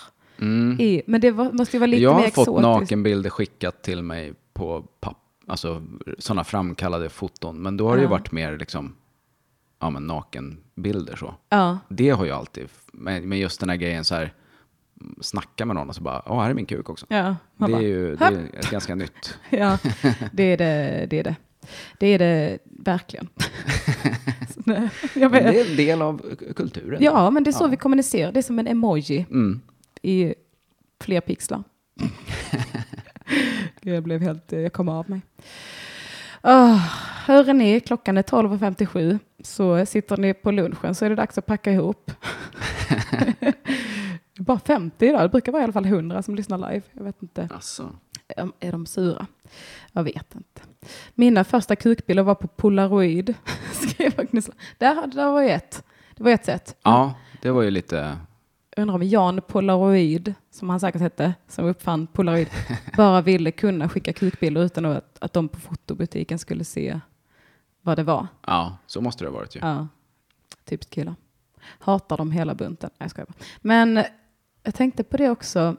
Speaker 1: I, men det var, måste ju vara lite
Speaker 4: Mm. jag
Speaker 1: mer
Speaker 4: har fått
Speaker 1: exotiskt.
Speaker 4: nakenbilder skickat till mig på papp, alltså sådana framkallade foton. Men då har det ju varit mer liksom, ja men nakenbilder så.
Speaker 1: Ja.
Speaker 4: Det har jag alltid, men men just den här grejen så här, snacka med någon och så bara, ja här är min kuk också.
Speaker 1: Ja, man
Speaker 4: det är
Speaker 1: bara,
Speaker 4: ju det är
Speaker 1: *laughs*
Speaker 4: ganska nytt. *laughs*
Speaker 1: ja, det är det. Det är det, det, är det
Speaker 4: *laughs*
Speaker 1: verkligen. Så, nej, jag
Speaker 4: Men
Speaker 1: vet.
Speaker 4: det är en del av k- kulturen.
Speaker 1: Ja, men det är så vi kommunicerar. Det är som en emoji
Speaker 4: Mm.
Speaker 1: i fler pixlar. Gud, jag blev helt... eh, Jag kom av mig. Oh, hör ni, klockan är 12.57 så sitter ni på lunchen så är det dags att packa ihop. Det är Bara 50 idag, det brukar vara i alla fall 100 som lyssnar live. Jag vet inte.
Speaker 4: Alltså.
Speaker 1: Är- Är de sura? Jag vet inte. Mina första kukbilder var på Polaroid. *laughs* Skrev Agnes. Där, där var ju ett. Det var ett sätt.
Speaker 4: Ja, det var ju lite,
Speaker 1: Undrar om Jan Polaroid, som han säkert hette, som uppfann Polaroid, bara ville kunna skicka kukbilder utan att, att de på fotobutiken skulle se vad det var.
Speaker 4: ja så måste det ha varit ju.
Speaker 1: Ja, typiskt killar. Hatar dem hela bunten. Nej, jag skojar bara. Men jag tänkte på det också.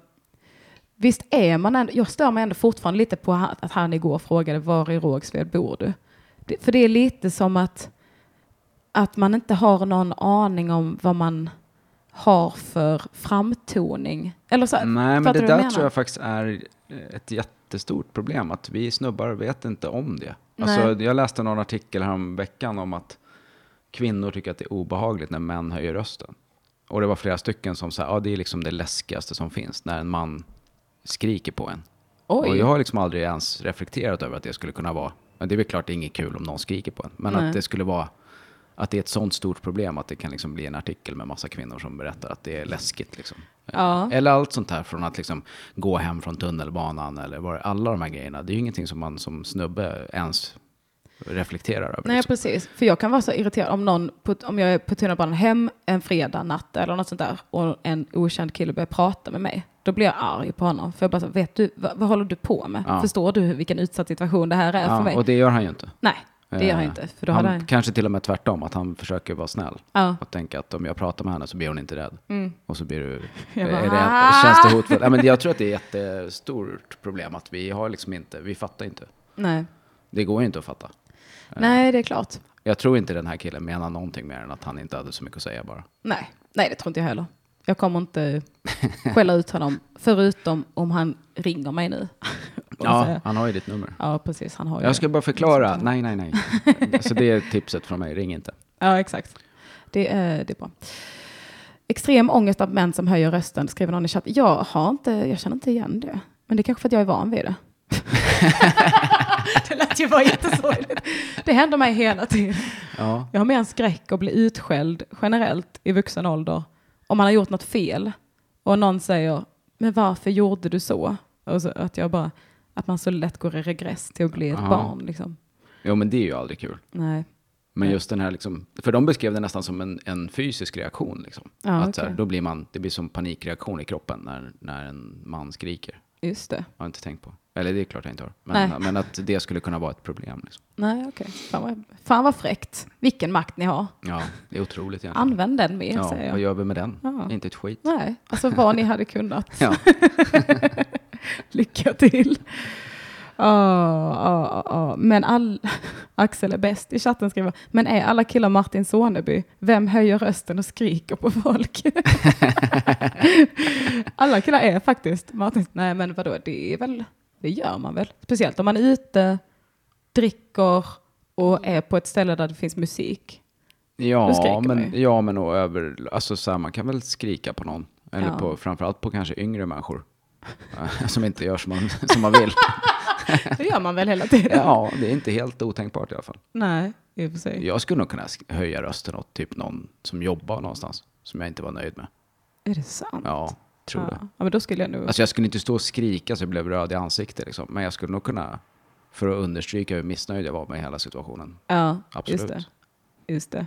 Speaker 1: Visst är man ändå, jag stör mig ändå fortfarande lite på ha- att han igår frågade var i Rågsved bor du? Det, för det är lite som att, att man inte har någon aning om vad man har för framtoning. Eller så,
Speaker 4: Nej, men
Speaker 1: fattar
Speaker 4: det
Speaker 1: du vad
Speaker 4: där
Speaker 1: jag
Speaker 4: tror
Speaker 1: menar?
Speaker 4: jag faktiskt är eh, ett jättestort problem, att vi snubbar vet inte om det.
Speaker 1: Nej.
Speaker 4: Alltså, jag läste någon artikel veckan om att kvinnor tycker att det är obehagligt när män höjer rösten. Och det var flera stycken som sa, ja det är liksom det läskigaste som finns, när en man skriker på en.
Speaker 1: Oj.
Speaker 4: Och jag har liksom aldrig ens reflekterat över att det skulle kunna vara, men det är väl klart det är inget kul om någon skriker på en, men
Speaker 1: Nej.
Speaker 4: att det skulle vara, att det är ett sånt stort problem att det kan liksom bli en artikel med massa kvinnor som berättar att det är läskigt. Liksom.
Speaker 1: Ja.
Speaker 4: Eller allt sånt här från att liksom gå hem från tunnelbanan eller vad, alla de här grejerna. Det är ju ingenting som man som snubbe ens reflekterar över.
Speaker 1: Nej,
Speaker 4: liksom.
Speaker 1: precis. För jag kan vara så irriterad om, någon på, om jag är på tunnelbanan hem en fredag natt eller något sånt där och en okänd kille börjar prata med mig. Då blir jag arg på honom. För jag bara, så, vet du, vad, vad håller du på med?
Speaker 4: Ja.
Speaker 1: Förstår du hur- vilken utsatt situation det här är för mig?
Speaker 4: ja, och det gör han ju inte.
Speaker 1: Nej, det gör jag
Speaker 4: Eh,
Speaker 1: inte. För då
Speaker 4: han,
Speaker 1: hade han...
Speaker 4: Kanske till och med tvärtom, att han försöker vara snäll.
Speaker 1: Ja. Mm.
Speaker 4: Och tänka att om jag pratar med henne så blir hon inte rädd. Och så blir du...
Speaker 1: *laughs* Jag
Speaker 4: är
Speaker 1: bara, "Ah!"
Speaker 4: det, känns det hotfullt? Ja, men jag tror att det är ett jättestort problem att vi har liksom inte, vi fattar inte.
Speaker 1: Nej.
Speaker 4: Det går ju inte att fatta.
Speaker 1: Nej, det är klart.
Speaker 4: Jag tror inte den här killen menar någonting mer än att han inte hade så mycket att säga bara.
Speaker 1: Nej, nej det tror inte jag heller. Jag kommer
Speaker 4: *laughs*
Speaker 1: inte skälla ut honom, förutom om han ringer mig
Speaker 4: *laughs*
Speaker 1: nu. *laughs* Och
Speaker 4: Ja,
Speaker 1: säger-
Speaker 4: han har ju ditt nummer.
Speaker 1: ja, precis. Han har ju
Speaker 4: Jag
Speaker 1: det.
Speaker 4: ska bara förklara. Nej,
Speaker 1: *laughs*
Speaker 4: nej, nej. Så det är tipset från mig. Ring inte.
Speaker 1: Ja, exakt. Det är, det är bra. Extrem ångest av män som höjer rösten, skriver någon i chatten. Jag, har inte, jag känner inte igen det. Men det är kanske för att jag är van vid det. *laughs* det lät ju vara jättesorgligt. Det händer mig hela tiden.
Speaker 4: Ja.
Speaker 1: Jag har mer en skräck att bli utskälld generellt i vuxen ålder. Om man har gjort något fel och någon säger, men varför gjorde du så? Och så att, jag bara, att man så lätt går i regress till att bli ett
Speaker 4: Ja.
Speaker 1: barn. Liksom.
Speaker 4: Jo, men det är ju aldrig kul.
Speaker 1: Nej.
Speaker 4: Men just den här, liksom, för de beskrev det nästan som en, en fysisk reaktion. Liksom.
Speaker 1: Ja,
Speaker 4: att
Speaker 1: okej.
Speaker 4: så här, då blir man, det blir som panikreaktion i kroppen när, när en man skriker.
Speaker 1: Just det.
Speaker 4: Har jag inte tänkt på. Eller det är klart jag inte har.
Speaker 1: Nej.
Speaker 4: Men, men att det skulle kunna vara ett problem. Liksom.
Speaker 1: Nej, okej. Fan, vad, fan vad fräckt. Vilken makt ni har.
Speaker 4: Ja, det är otroligt egentligen.
Speaker 1: Använd den mer, säger
Speaker 4: ja,
Speaker 1: jag.
Speaker 4: vad gör vi med den?
Speaker 1: Ja.
Speaker 4: Inte ett skit.
Speaker 1: Nej, alltså vad ni hade kunnat.
Speaker 4: Ja.
Speaker 1: *laughs* Lycka till. Ja, ja, ja. Men all... Axel är bäst i chatten skriver, men är alla killar Martin Soneby? Vem höjer rösten och skriker på
Speaker 4: *laughs*
Speaker 1: folk? alla killar är faktiskt Martin. Nej, men vadå, det är väl, det gör man väl? Speciellt om man är ute, dricker och är på ett ställe där det finns musik. Då
Speaker 4: Ja,
Speaker 1: skriker man
Speaker 4: men,
Speaker 1: ju.
Speaker 4: ja, men och över, alltså så här, man kan väl skrika på någon. Eller
Speaker 1: Ja.
Speaker 4: på, framförallt på kanske yngre människor. *laughs* som inte gör som man,
Speaker 1: *laughs*
Speaker 4: som man vill.
Speaker 1: Det gör man väl hela tiden?
Speaker 4: Ja, det är inte helt otänkbart i alla fall.
Speaker 1: Nej, i och för sig.
Speaker 4: Jag skulle nog kunna sk- höja rösten åt typ någon som jobbar någonstans. Som jag inte var nöjd med.
Speaker 1: Är det sant?
Speaker 4: Ja, tror det.
Speaker 1: ja. ja, men då skulle jag nog...
Speaker 4: Alltså jag skulle inte stå och skrika så jag blev röd i ansiktet liksom. Men jag skulle nog kunna, för att understryka hur missnöjd jag var med hela situationen.
Speaker 1: ja,
Speaker 4: absolut.
Speaker 1: Just det. Just det.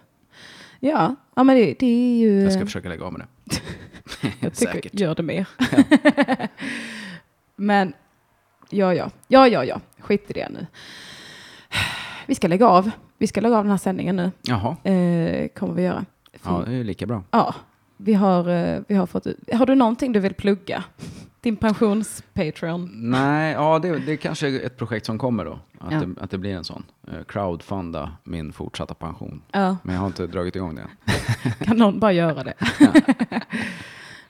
Speaker 1: Ja, ja men det, det är ju...
Speaker 4: Jag ska försöka lägga av med det.
Speaker 1: *laughs*
Speaker 4: *laughs*
Speaker 1: jag tycker,
Speaker 4: Säkert.
Speaker 1: gör det
Speaker 4: *laughs*
Speaker 1: mer. *laughs* men, ja, ja. Ja, ja, ja. Skit i det nu. Vi ska lägga av. Vi ska lägga av den här sändningen nu.
Speaker 4: Jaha,
Speaker 1: Eh, kommer vi göra. För-
Speaker 4: ja, det är ju lika bra.
Speaker 1: Ja, vi har, eh, vi har fått ut- Har du någonting du vill plugga? Din pensions-Patreon?
Speaker 4: Nej, ja, det, det kanske är ett projekt som kommer då. Att,
Speaker 1: Ja.
Speaker 4: det, att det blir en sån. Eh, Crowdfunda min fortsatta pension.
Speaker 1: Ja,
Speaker 4: Men jag har inte dragit igång det än.
Speaker 1: kan någon bara göra det? *laughs*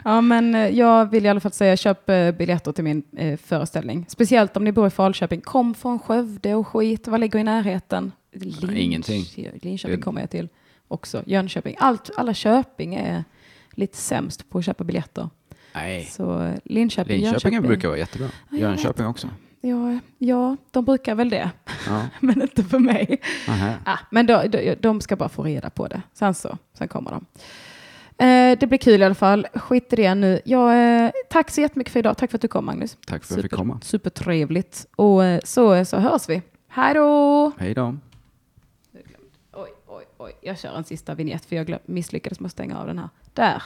Speaker 1: ja, men eh, jag vill i alla fall säga köp eh, biljetter till min eh, föreställning. Speciellt om ni bor i Falköping. Kom från Skövde och skit. Vad ligger i närheten? Linköping-
Speaker 4: ingenting.
Speaker 1: Linköping
Speaker 4: Det-
Speaker 1: kommer jag till också. Jönköping. Allt, alla Köping är lite sämst på att köpa biljetter.
Speaker 4: Nej,
Speaker 1: Så eh, Linköping,
Speaker 4: Linköping
Speaker 1: Jönköping.
Speaker 4: brukar vara jättebra.
Speaker 1: jag
Speaker 4: Jönköping också.
Speaker 1: Ja, ja, de brukar väl det.
Speaker 4: Ja.
Speaker 1: *laughs* men inte för mig.
Speaker 4: Aha.
Speaker 1: Ah, men då, de, de ska bara få reda på det. Sen så, sen kommer de. Eh, det blir kul i alla fall. Skit i det nu. Jag, eh, tack så jättemycket för idag. Tack för att du kom, Magnus.
Speaker 4: Tack för att jag fick komma.
Speaker 1: Supertrevligt. Och eh, så, så hörs vi. Hej då!
Speaker 4: Hej då.
Speaker 1: Oj, oj, oj. Jag kör en sista vignett för jag glöm, misslyckades med att stänga av den här. Där.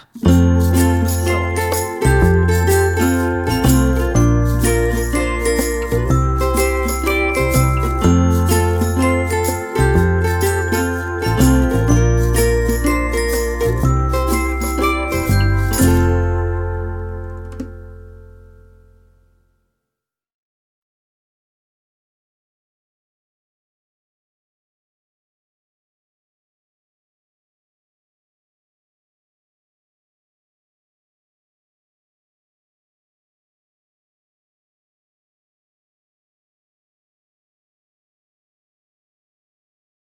Speaker 1: Så.